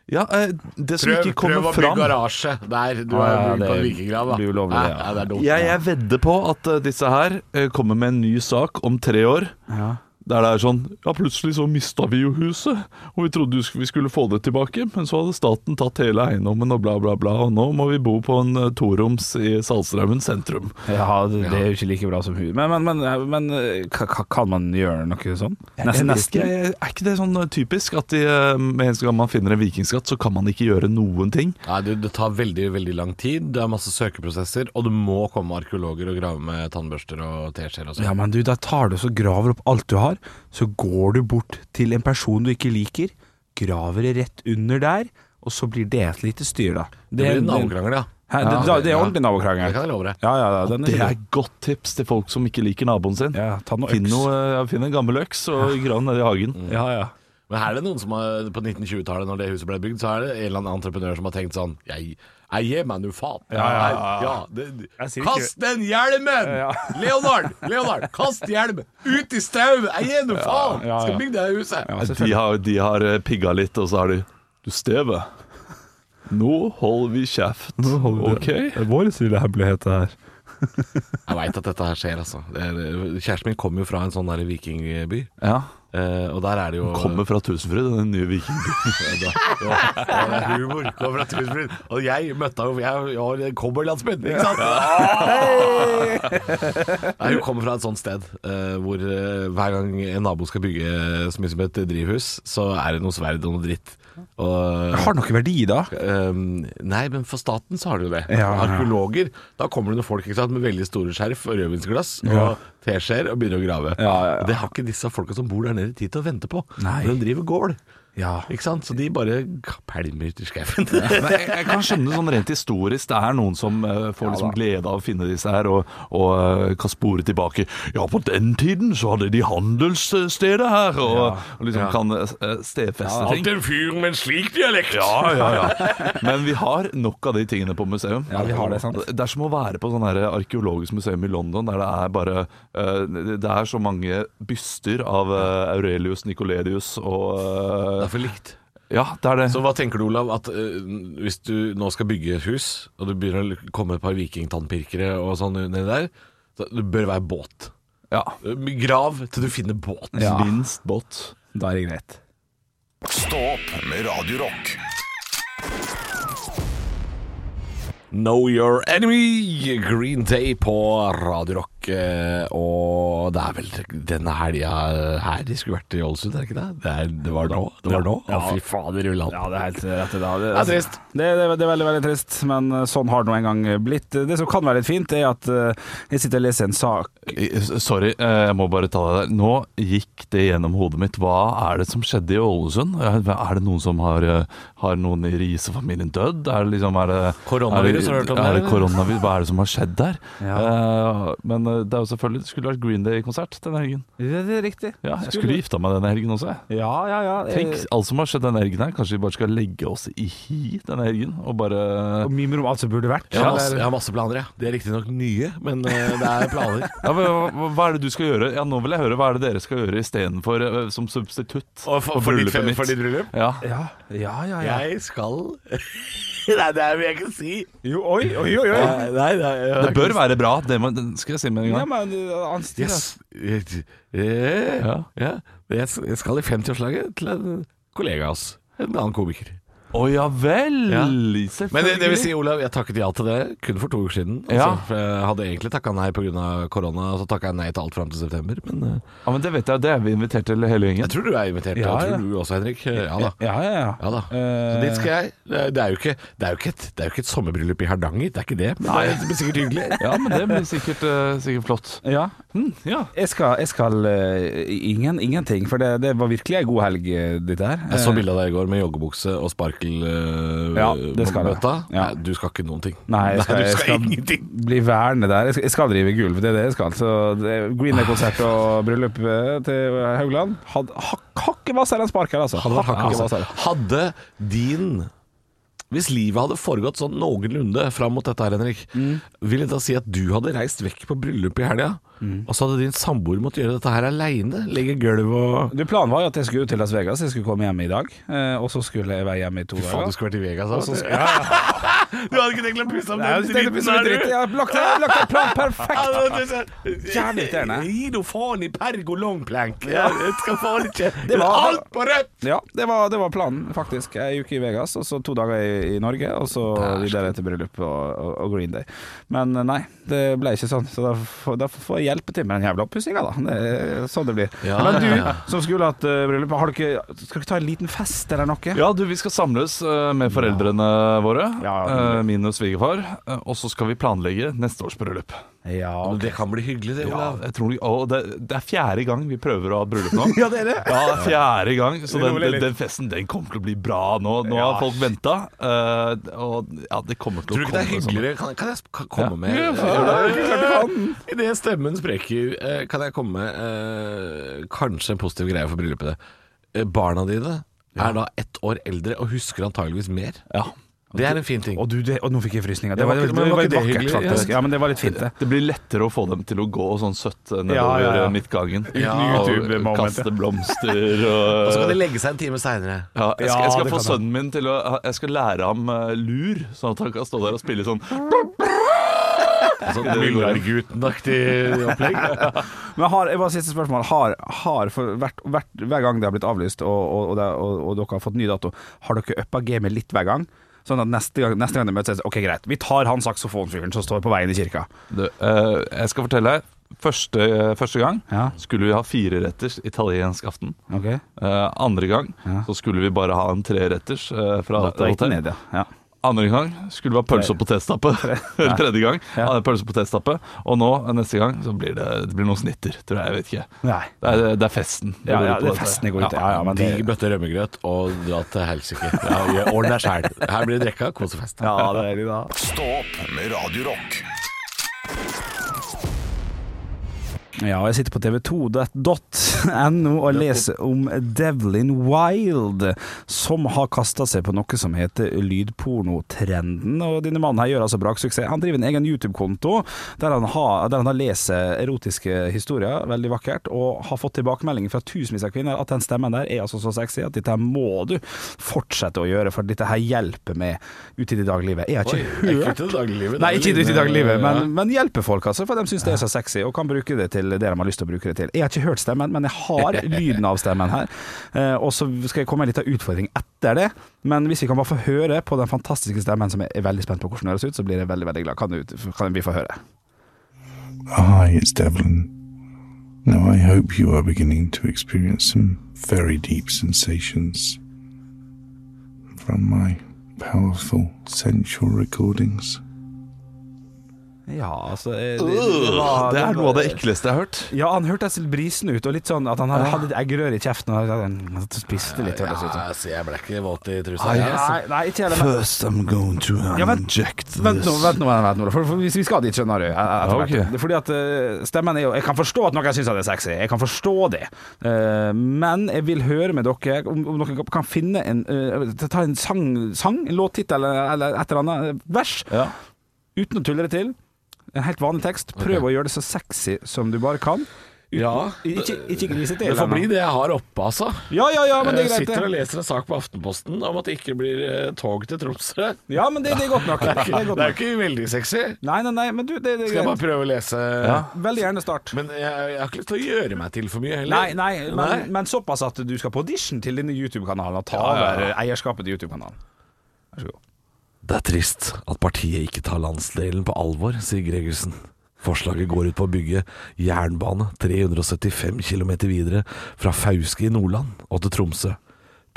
[SPEAKER 4] Ja, eh, det som ikke kommer
[SPEAKER 5] å bygge
[SPEAKER 4] fram
[SPEAKER 5] garasje der du
[SPEAKER 3] Ja, ja,
[SPEAKER 5] er på
[SPEAKER 3] det
[SPEAKER 5] en vikinggrav. da.
[SPEAKER 3] blir ulovlig,
[SPEAKER 5] Nei,
[SPEAKER 3] ja.
[SPEAKER 5] nei, det er dumt.
[SPEAKER 4] jeg, jeg vedder på at eh, disse her eh, kommer med en ny sak om tre år.
[SPEAKER 3] Ja.
[SPEAKER 4] Der det er sånn Ja, plutselig så mista vi jo huset, og vi trodde vi skulle få det tilbake, men så hadde staten tatt hele eiendommen og bla, bla, bla, og nå må vi bo på en eh, toroms i Salstraumen sentrum.
[SPEAKER 3] Ja, det det er jo ikke like bra som hun. Men, men, men, men eh, ka- ka- kan man gjøre noe sånn? Nesten,
[SPEAKER 4] Nesten.
[SPEAKER 3] nesten.
[SPEAKER 4] Er ikke det sånn eh, typisk at de, eh, med en gang man finner en vikingskatt, så kan man ikke gjøre noen ting?
[SPEAKER 5] Nei, du, Det tar veldig veldig lang tid, det er masse søkeprosesser, og det må komme arkeologer og grave med tannbørster og teskjeer og sånn.
[SPEAKER 3] Ja, men du, da tar du og så graver opp alt du har, så går du bort til en person du ikke liker, graver det rett under der, og så blir det et lite styr, da.
[SPEAKER 5] det blir en nabokrangel, ja.
[SPEAKER 3] Hæ, det, da- det er ordentlig
[SPEAKER 5] Det
[SPEAKER 3] nabokrangel.
[SPEAKER 5] kan jeg love deg.
[SPEAKER 3] Ja, ja, ja, den
[SPEAKER 4] Det
[SPEAKER 3] er
[SPEAKER 4] er godt tips til folk som ikke liker naboen sin.
[SPEAKER 3] Ja, ta noe
[SPEAKER 4] Finn,
[SPEAKER 3] øks. Mm.
[SPEAKER 4] noe, ja, finn en gammel øks og grav den nede i hagen.
[SPEAKER 3] Ja, ja.
[SPEAKER 5] Men her er det noen som har, på 1920-tallet, når det huset ble bygd, så er det en eller annen entreprenør som har tenkt sånn Jeg eier meg nå, faen.
[SPEAKER 3] ja,
[SPEAKER 5] Jeg- ja, det-
[SPEAKER 3] Jeg sier ikke-
[SPEAKER 5] Kast den hjelmen!
[SPEAKER 3] Ja.
[SPEAKER 5] Leonard! Leonard, kast hjelmen! Ut i straumen! Eier nå, faen!
[SPEAKER 3] ja, ja.
[SPEAKER 5] Skal bygge det huset!
[SPEAKER 3] Ja,
[SPEAKER 4] De
[SPEAKER 3] selvfølgelig.
[SPEAKER 4] har, de har eh, pigga litt, og så har de Du, Steve. Nå holder vi kjeft. OK?
[SPEAKER 6] Det er vår lille hemmelighet, det her.
[SPEAKER 5] Jeg veit at dette her skjer, altså. Det er, kjæresten min kommer jo fra en sånn der vikingby,
[SPEAKER 4] Ja.
[SPEAKER 5] eh, og der er det jo
[SPEAKER 4] Kommer fra Tusenfryd, den nye vikingen.
[SPEAKER 5] Ja, det er humor. Kom fra Tusenfryd. Og jeg møtte henne Jeg, jeg var cowboylandsbyen, ikke sant? Nei, hun kommer fra et sånt sted eh, hvor eh, hver gang en nabo skal bygge så mye som et drivhus, så er det noe sverd og noe dritt. Og,
[SPEAKER 3] Har det noe verdi, da?
[SPEAKER 5] Ehm, nei, men for staten så har du det.
[SPEAKER 3] Ja, ja.
[SPEAKER 5] Arkeologer. Da kommer det noen folk ikke sant, med veldig store skjerf og rødvinsglass og teskjeer og begynner å grave.
[SPEAKER 3] Ja, ja, ja.
[SPEAKER 5] Og Det har ikke disse folka som bor der nede, tid til å vente på.
[SPEAKER 3] Nei.
[SPEAKER 5] For de driver gård.
[SPEAKER 3] Ja.
[SPEAKER 5] Ikke sant? Så de bare k- pælmer ut i skauen.
[SPEAKER 4] Men jeg, jeg kan skjønne sånn rent historisk. Det er noen som eh, får liksom glede av å finne disse her, og, og eh, kan spore tilbake. Ja, på den tiden så hadde de handelsstedet her, og, og liksom kan eh, stedfeste ting.
[SPEAKER 5] en fyr med en slik dialekt!
[SPEAKER 4] Ja, ja, ja. Men vi har nok av de tingene på museum.
[SPEAKER 3] Ja, vi har det, sant.
[SPEAKER 4] Det er som å være på sånn her arkeologisk museum i London, der det er bare eh, Det er så mange byster av eh, Aurelius Nicoledius og
[SPEAKER 5] Det
[SPEAKER 4] eh,
[SPEAKER 5] er for likt.
[SPEAKER 4] Ja, det er det.
[SPEAKER 5] Så hva tenker du, Olav, at eh, hvis du nå skal bygge et hus, og du begynner å komme et par vikingtannpirkere og sånn nedi der, så det bør være båt.
[SPEAKER 4] Ja.
[SPEAKER 5] Grav til du finner båt.
[SPEAKER 3] Ja.
[SPEAKER 4] Minst båt.
[SPEAKER 3] Da er det greit.
[SPEAKER 1] Stå opp med Radio Rock.
[SPEAKER 5] Know Your Enemy, Green Day på Radio Rock. eh, Og det er vel denne helga her de skulle vært i Ålesund, er det ikke det? Det, er, det var nå. Det var nå. Å, fy fader, Ulland.
[SPEAKER 3] Ja, det er helt rett. Det, da. det,
[SPEAKER 5] Det er trist.
[SPEAKER 3] Det, det, det er veldig, veldig trist, men eh, sånn har det nå en gang blitt. Det som kan være litt fint, er at eh, jeg sitter og leser en sak
[SPEAKER 4] Eh, Sorry, eh, jeg må bare ta deg der. Nå gikk det gjennom hodet mitt. Hva er det som skjedde i Ålesund? Eh, Er det noen som har, eh, har noen i Riise-familien dødd? Er det liksom, er det,
[SPEAKER 5] Koronavirus,
[SPEAKER 4] er
[SPEAKER 5] har du hørt om
[SPEAKER 4] er
[SPEAKER 5] det,
[SPEAKER 4] det?
[SPEAKER 5] eller?
[SPEAKER 4] Koronavirus, hva er det som har skjedd der? Eh, men eh, det er jo selvfølgelig, det skulle vært Green Day-konsert den helgen.
[SPEAKER 3] Det er riktig.
[SPEAKER 4] Ja, jeg skulle gifta meg denne helgen også. jeg.
[SPEAKER 3] Ja, ja, Eh, ja.
[SPEAKER 5] Eh.
[SPEAKER 4] Tenk, alt som har skjedd denne helgen her, kanskje vi bare skal legge oss i hi denne helgen, og bare
[SPEAKER 3] Og mimer om alt som burde vært.
[SPEAKER 5] Jeg har, masse,
[SPEAKER 3] eller?
[SPEAKER 5] jeg har masse planer, jeg. De er riktignok nye, men eh, det er planer.
[SPEAKER 4] ja, hva, hva- hva er det du skal gjøre? Ja, nå vil jeg høre hva er det dere skal gjøre istedenfor eh, som substitutt
[SPEAKER 5] Og for,
[SPEAKER 4] på
[SPEAKER 5] for, ditt,
[SPEAKER 4] bryllupet mitt?
[SPEAKER 5] for ditt bryllup?
[SPEAKER 4] Ja.
[SPEAKER 3] ja, ja, ja, ja.
[SPEAKER 5] Jeg skal Nei, det vil jeg ikke si.
[SPEAKER 3] Jo, oi, oi, oi. oi.
[SPEAKER 5] Nei, Eh, nei, jeg-
[SPEAKER 4] Det bør være bra, det, må, det skal jeg si med en
[SPEAKER 3] Ja,
[SPEAKER 4] gang.
[SPEAKER 3] men eh, annen stil, altså.
[SPEAKER 5] Yes. Eh,
[SPEAKER 4] Ja.
[SPEAKER 5] ja. Jeg s- jeg skal i 50-årslaget til en kollega av oss. En annen komiker.
[SPEAKER 4] Å ja vel!
[SPEAKER 5] Ja.
[SPEAKER 4] Selvfølgelig.
[SPEAKER 5] Men det, det vil si, Olav, jeg takket ja til det kun for to uker siden. Altså,
[SPEAKER 4] Ja.
[SPEAKER 5] for jeg hadde egentlig takka nei pga. korona, og så takka jeg nei til alt fram til september. Men eh,
[SPEAKER 4] Ja, men det vet jeg, det er vi invitert til hele
[SPEAKER 5] jeg
[SPEAKER 4] gjengen.
[SPEAKER 5] tror du er invitert,
[SPEAKER 3] Ja,
[SPEAKER 5] og jeg
[SPEAKER 3] ja. Eh,
[SPEAKER 5] tror du også, Henrik. Eh, Ja da.
[SPEAKER 3] Ja, ja, ja.
[SPEAKER 5] Ja da. Så dit skal jeg. Det er- det er jo ikke, det er jo ikke, et, det er jo ikke et sommerbryllup i Hardanger, det er ikke det. Men det er- det blir sikkert hyggelig.
[SPEAKER 4] Ja, men det blir sikkert, eh, sikkert flott.
[SPEAKER 3] Ja.
[SPEAKER 4] Hm, ja.
[SPEAKER 3] Jeg skal, jeg skal eh, ingen, ingenting, for det, det var virkelig ei god helg, eh, dette her.
[SPEAKER 5] Jeg så bilde av deg i går med joggebukse og sparkelbøtta.
[SPEAKER 3] Ja, det skal jeg. Ja.
[SPEAKER 5] Du skal ikke noen ting.
[SPEAKER 3] Nei, jeg skal,
[SPEAKER 5] Nei, du
[SPEAKER 3] jeg
[SPEAKER 5] skal
[SPEAKER 3] skal
[SPEAKER 5] ingenting.
[SPEAKER 3] bli værende der. Jeg skal, jeg skal drive gulv, det er det jeg skal. Så det er Green Day-konsert og bryllup eh, til Haugland Had- hak- Hakket vassere enn spark her, altså.
[SPEAKER 5] Hadde, vært hakket,
[SPEAKER 3] Hakket
[SPEAKER 5] altså. hadde din Hvis livet hadde foregått sånn noenlunde fram mot dette her, Henrik, vil det da si at du hadde reist vekk på bryllup i helga, og så hadde din samboer måttet gjøre dette her aleine? Legge gulv og
[SPEAKER 3] Du, Planen var jo at jeg skulle ut til Las Vegas, jeg skulle komme hjem i dag. eh, Og så skulle jeg være hjemme i to
[SPEAKER 5] Faen, du
[SPEAKER 3] dager.
[SPEAKER 5] skulle vært i
[SPEAKER 3] Og
[SPEAKER 5] Vegas,
[SPEAKER 3] så
[SPEAKER 5] altså.
[SPEAKER 3] skal- Ja, ja.
[SPEAKER 5] Du hadde ikke tenkt å pusse opp
[SPEAKER 3] Nei, jeg tenkte på sånn dritt. Jeg har lagt, jeg har lagt en plan perfekt. Jævlig irriterende.
[SPEAKER 5] Gi nå faen i pergolongplank. Jeg skal faen ikke
[SPEAKER 3] Det var-
[SPEAKER 5] Alt på rødt!
[SPEAKER 3] Ja, det var, det var planen, faktisk. Ei uke i Vegas, og så to dager i, i Norge, og så videre til bryllup og, og, og Green Day. Men eh, nei, det ble ikke sånn, så da, får- da får jeg hjelpe til med den jævla oppussinga, da. Det er sånn det blir.
[SPEAKER 5] Ja,
[SPEAKER 3] Men du,
[SPEAKER 5] ja, ja.
[SPEAKER 3] som skulle hatt eh, bryllup, har du ikke, skal du ikke ta en liten fest eller noe?
[SPEAKER 4] Ja, du, vi skal samles eh, med foreldrene våre,
[SPEAKER 3] Ja.
[SPEAKER 4] eh, min og svigerfar, eh, og så skal vi planlegge neste års bryllup.
[SPEAKER 3] Ja,
[SPEAKER 5] Det kan bli hyggelig, det,
[SPEAKER 4] Ja,
[SPEAKER 5] Olav.
[SPEAKER 4] jeg tror, å, det, det er fjerde gang vi prøver å ha bryllup nå.
[SPEAKER 3] Ja, det er det.
[SPEAKER 4] Ja, det er fjerde gang. Så
[SPEAKER 3] Det
[SPEAKER 4] den,
[SPEAKER 3] roer
[SPEAKER 4] den,
[SPEAKER 3] litt.
[SPEAKER 4] den festen den kommer til å bli bra nå. Nå
[SPEAKER 3] Ja.
[SPEAKER 4] har folk venta. og ja, det kommer til
[SPEAKER 5] Tror du
[SPEAKER 4] å
[SPEAKER 5] ikke det
[SPEAKER 4] komme
[SPEAKER 5] er
[SPEAKER 4] sånn.
[SPEAKER 5] hyggeligere? Kan, kan jeg sp- kan komme
[SPEAKER 4] Ja.
[SPEAKER 5] med
[SPEAKER 4] Ja,
[SPEAKER 5] I det stemmen spreker, eh, kan jeg komme med eh, kanskje en positiv greie for bryllupet. Eh, eh, barna dine er da ett år eldre og husker antageligvis mer. Det er en fin ting.
[SPEAKER 3] Og, du, det, og nå fikk jeg frysninger. Det
[SPEAKER 5] var
[SPEAKER 3] var,
[SPEAKER 5] ikke-
[SPEAKER 3] det,
[SPEAKER 5] men
[SPEAKER 3] var,
[SPEAKER 5] var ikke
[SPEAKER 3] litt
[SPEAKER 5] det
[SPEAKER 3] vakkert,
[SPEAKER 5] hyggelig?
[SPEAKER 3] faktisk. Ja, men det var litt fint, det.
[SPEAKER 4] Det blir lettere å få dem til å gå sånn søtt nedover
[SPEAKER 3] Ja, ja, ja.
[SPEAKER 4] midtgangen.
[SPEAKER 5] Ja,
[SPEAKER 4] og
[SPEAKER 3] YouTube-momentet.
[SPEAKER 4] kaste blomster
[SPEAKER 5] Og
[SPEAKER 4] og
[SPEAKER 5] så kan de legge seg en time seinere.
[SPEAKER 4] ja, jeg skal, jeg
[SPEAKER 3] Ja, det
[SPEAKER 4] skal få
[SPEAKER 3] kan jeg.
[SPEAKER 4] sønnen min til å Jeg skal lære ham eh, lur, sånn at han kan stå der og spille sånn
[SPEAKER 5] Myllargutten-aktig Sånn opplegg.
[SPEAKER 3] Men har, jeg bare siste spørsmål Har, har for hvert, hvert, hver gang det har blitt avlyst og, og, og, det, og, og dere har fått ny dato Har dere uppa gamet litt hver gang? Sånn at neste gang, neste gang de møtes er det sånn, Ok greit, vi tar han saksofonfyren som står på veien i kirka
[SPEAKER 4] Du, eh, jeg skal fortelle deg. Første, eh, første gang
[SPEAKER 3] Ja.
[SPEAKER 4] skulle vi ha fireretters italiensk aften.
[SPEAKER 3] Ok
[SPEAKER 4] Eh, andre gang
[SPEAKER 3] Ja.
[SPEAKER 4] så skulle vi bare ha en treretters eh, fra
[SPEAKER 3] Da, da gikk det
[SPEAKER 4] hotell.
[SPEAKER 3] ned, ja. ja
[SPEAKER 4] Andre gang skulle vi ha pølse og potetstappe. Tredje gang
[SPEAKER 3] Ja.
[SPEAKER 4] eh, pølse og potetstappe. Og nå, eh, neste gang, så blir det, det blir noen snitter, tror jeg. jeg vet ikke.
[SPEAKER 3] Nei
[SPEAKER 4] Det er, det er festen. det
[SPEAKER 3] Ja,
[SPEAKER 4] går
[SPEAKER 3] ja,
[SPEAKER 4] ut på
[SPEAKER 3] det er
[SPEAKER 4] dette.
[SPEAKER 3] festen det går ut i. Ja, ja, men det
[SPEAKER 5] Digg bøtte rømmegrøt og dra til helsike. Ja, gjør- Ordn deg sjæl. Her blir det drekka, kos og fest.
[SPEAKER 3] Ja, det er det da
[SPEAKER 1] Stå opp med Radio Rock.
[SPEAKER 3] Ja, jeg sitter på tv2.no og leser om Devlin Wild, som har kasta seg på noe som heter lydpornotrenden. Og denne mannen her gjør altså braksuksess. Han driver en egen YouTube-konto der han har, der han har lest erotiske historier, veldig vakkert, og har fått tilbakemeldinger fra tusenvis av kvinner at den stemmen der er altså så sexy at dette her må du fortsette å gjøre, for dette her hjelper meg ute i det daglige livet. Jeg har ikke hørt
[SPEAKER 5] Ikke til dagliglivet.
[SPEAKER 3] Nei, ikke ut i dagliglivet,
[SPEAKER 5] Ja.
[SPEAKER 3] men, men hjelpe folk, altså. For de syns det er så sexy, og kan bruke det til det de har lyst til å bruke det til. Jeg har ikke hørt stemmen, men jeg har lyden av stemmen her. Eh, og så skal jeg komme med en liten utfordring etter det. Men hvis vi kan bare få høre på den fantastiske stemmen, som jeg er veldig spent på hvordan høres ut, så blir jeg veldig, veldig glad. Kan, du, kan vi få høre?
[SPEAKER 7] Hi, it's Devlin. Now, I hope you are beginning to experience some very deep sensations from my powerful sensual recordings.
[SPEAKER 3] Ja, altså
[SPEAKER 4] Øh, Det er noe av det ekleste jeg har hørt.
[SPEAKER 3] Ja, han hørtes brisende ut, og litt sånn at han hadde et eggerøre i kjeften og spiste litt.
[SPEAKER 5] Ja,
[SPEAKER 3] hørtes det ut som.
[SPEAKER 5] så jeg ble ikke våt i trusa. jeg, altså.
[SPEAKER 3] Nei, nei, ikke heller. men-
[SPEAKER 4] First I'm going to
[SPEAKER 3] Ja, vent-
[SPEAKER 4] inject
[SPEAKER 3] Vent nå, vent nå, vent nå for, for vi vi skal dit, skjønner du. eh, etter
[SPEAKER 4] Ja, ok.
[SPEAKER 3] hvert. Det er Fordi at eh, stemmen er jo Jeg kan forstå at noen syns det er sexy, jeg kan forstå det. Eh, men jeg vil høre med dere om, om dere kan finne en eh, Ta en sang, sang en låttittel eller, eller et eller annet eh, vers,
[SPEAKER 4] Ja.
[SPEAKER 3] uten å tulle det til. En helt vanlig tekst. Prøv å gjøre det så sexy som du bare kan. Uten,
[SPEAKER 5] Ja.
[SPEAKER 3] Ikke, ikke grisete.
[SPEAKER 5] Det får
[SPEAKER 3] eller noe.
[SPEAKER 5] bli det jeg har oppe, altså.
[SPEAKER 3] Ja, ja, ja, men det
[SPEAKER 5] Jeg
[SPEAKER 3] er greit,
[SPEAKER 5] sitter og
[SPEAKER 3] det.
[SPEAKER 5] leser en sak på Aftenposten om at det ikke blir eh, tog til Tromsø.
[SPEAKER 3] Ja, men det, det er godt nok. Det er godt
[SPEAKER 5] Det er jo
[SPEAKER 3] nok.
[SPEAKER 5] ikke veldig sexy.
[SPEAKER 3] Nei, nei, nei, men du, det, det er
[SPEAKER 5] Skal jeg bare
[SPEAKER 3] greit.
[SPEAKER 5] prøve å lese
[SPEAKER 3] Veldig gjerne start.
[SPEAKER 5] Men jeg, jeg har ikke lyst til å gjøre meg til for mye heller.
[SPEAKER 3] Nei, nei, men, men såpass at du skal på audition til denne YouTube-kanalen og ta over eh, eierskapet til YouTube-kanalen. Vær så god.
[SPEAKER 5] Det er trist at partiet ikke tar landsdelen på alvor, sier Gregersen. Forslaget går ut på å bygge jernbane 375 km videre fra Fauske i Nordland og til Tromsø.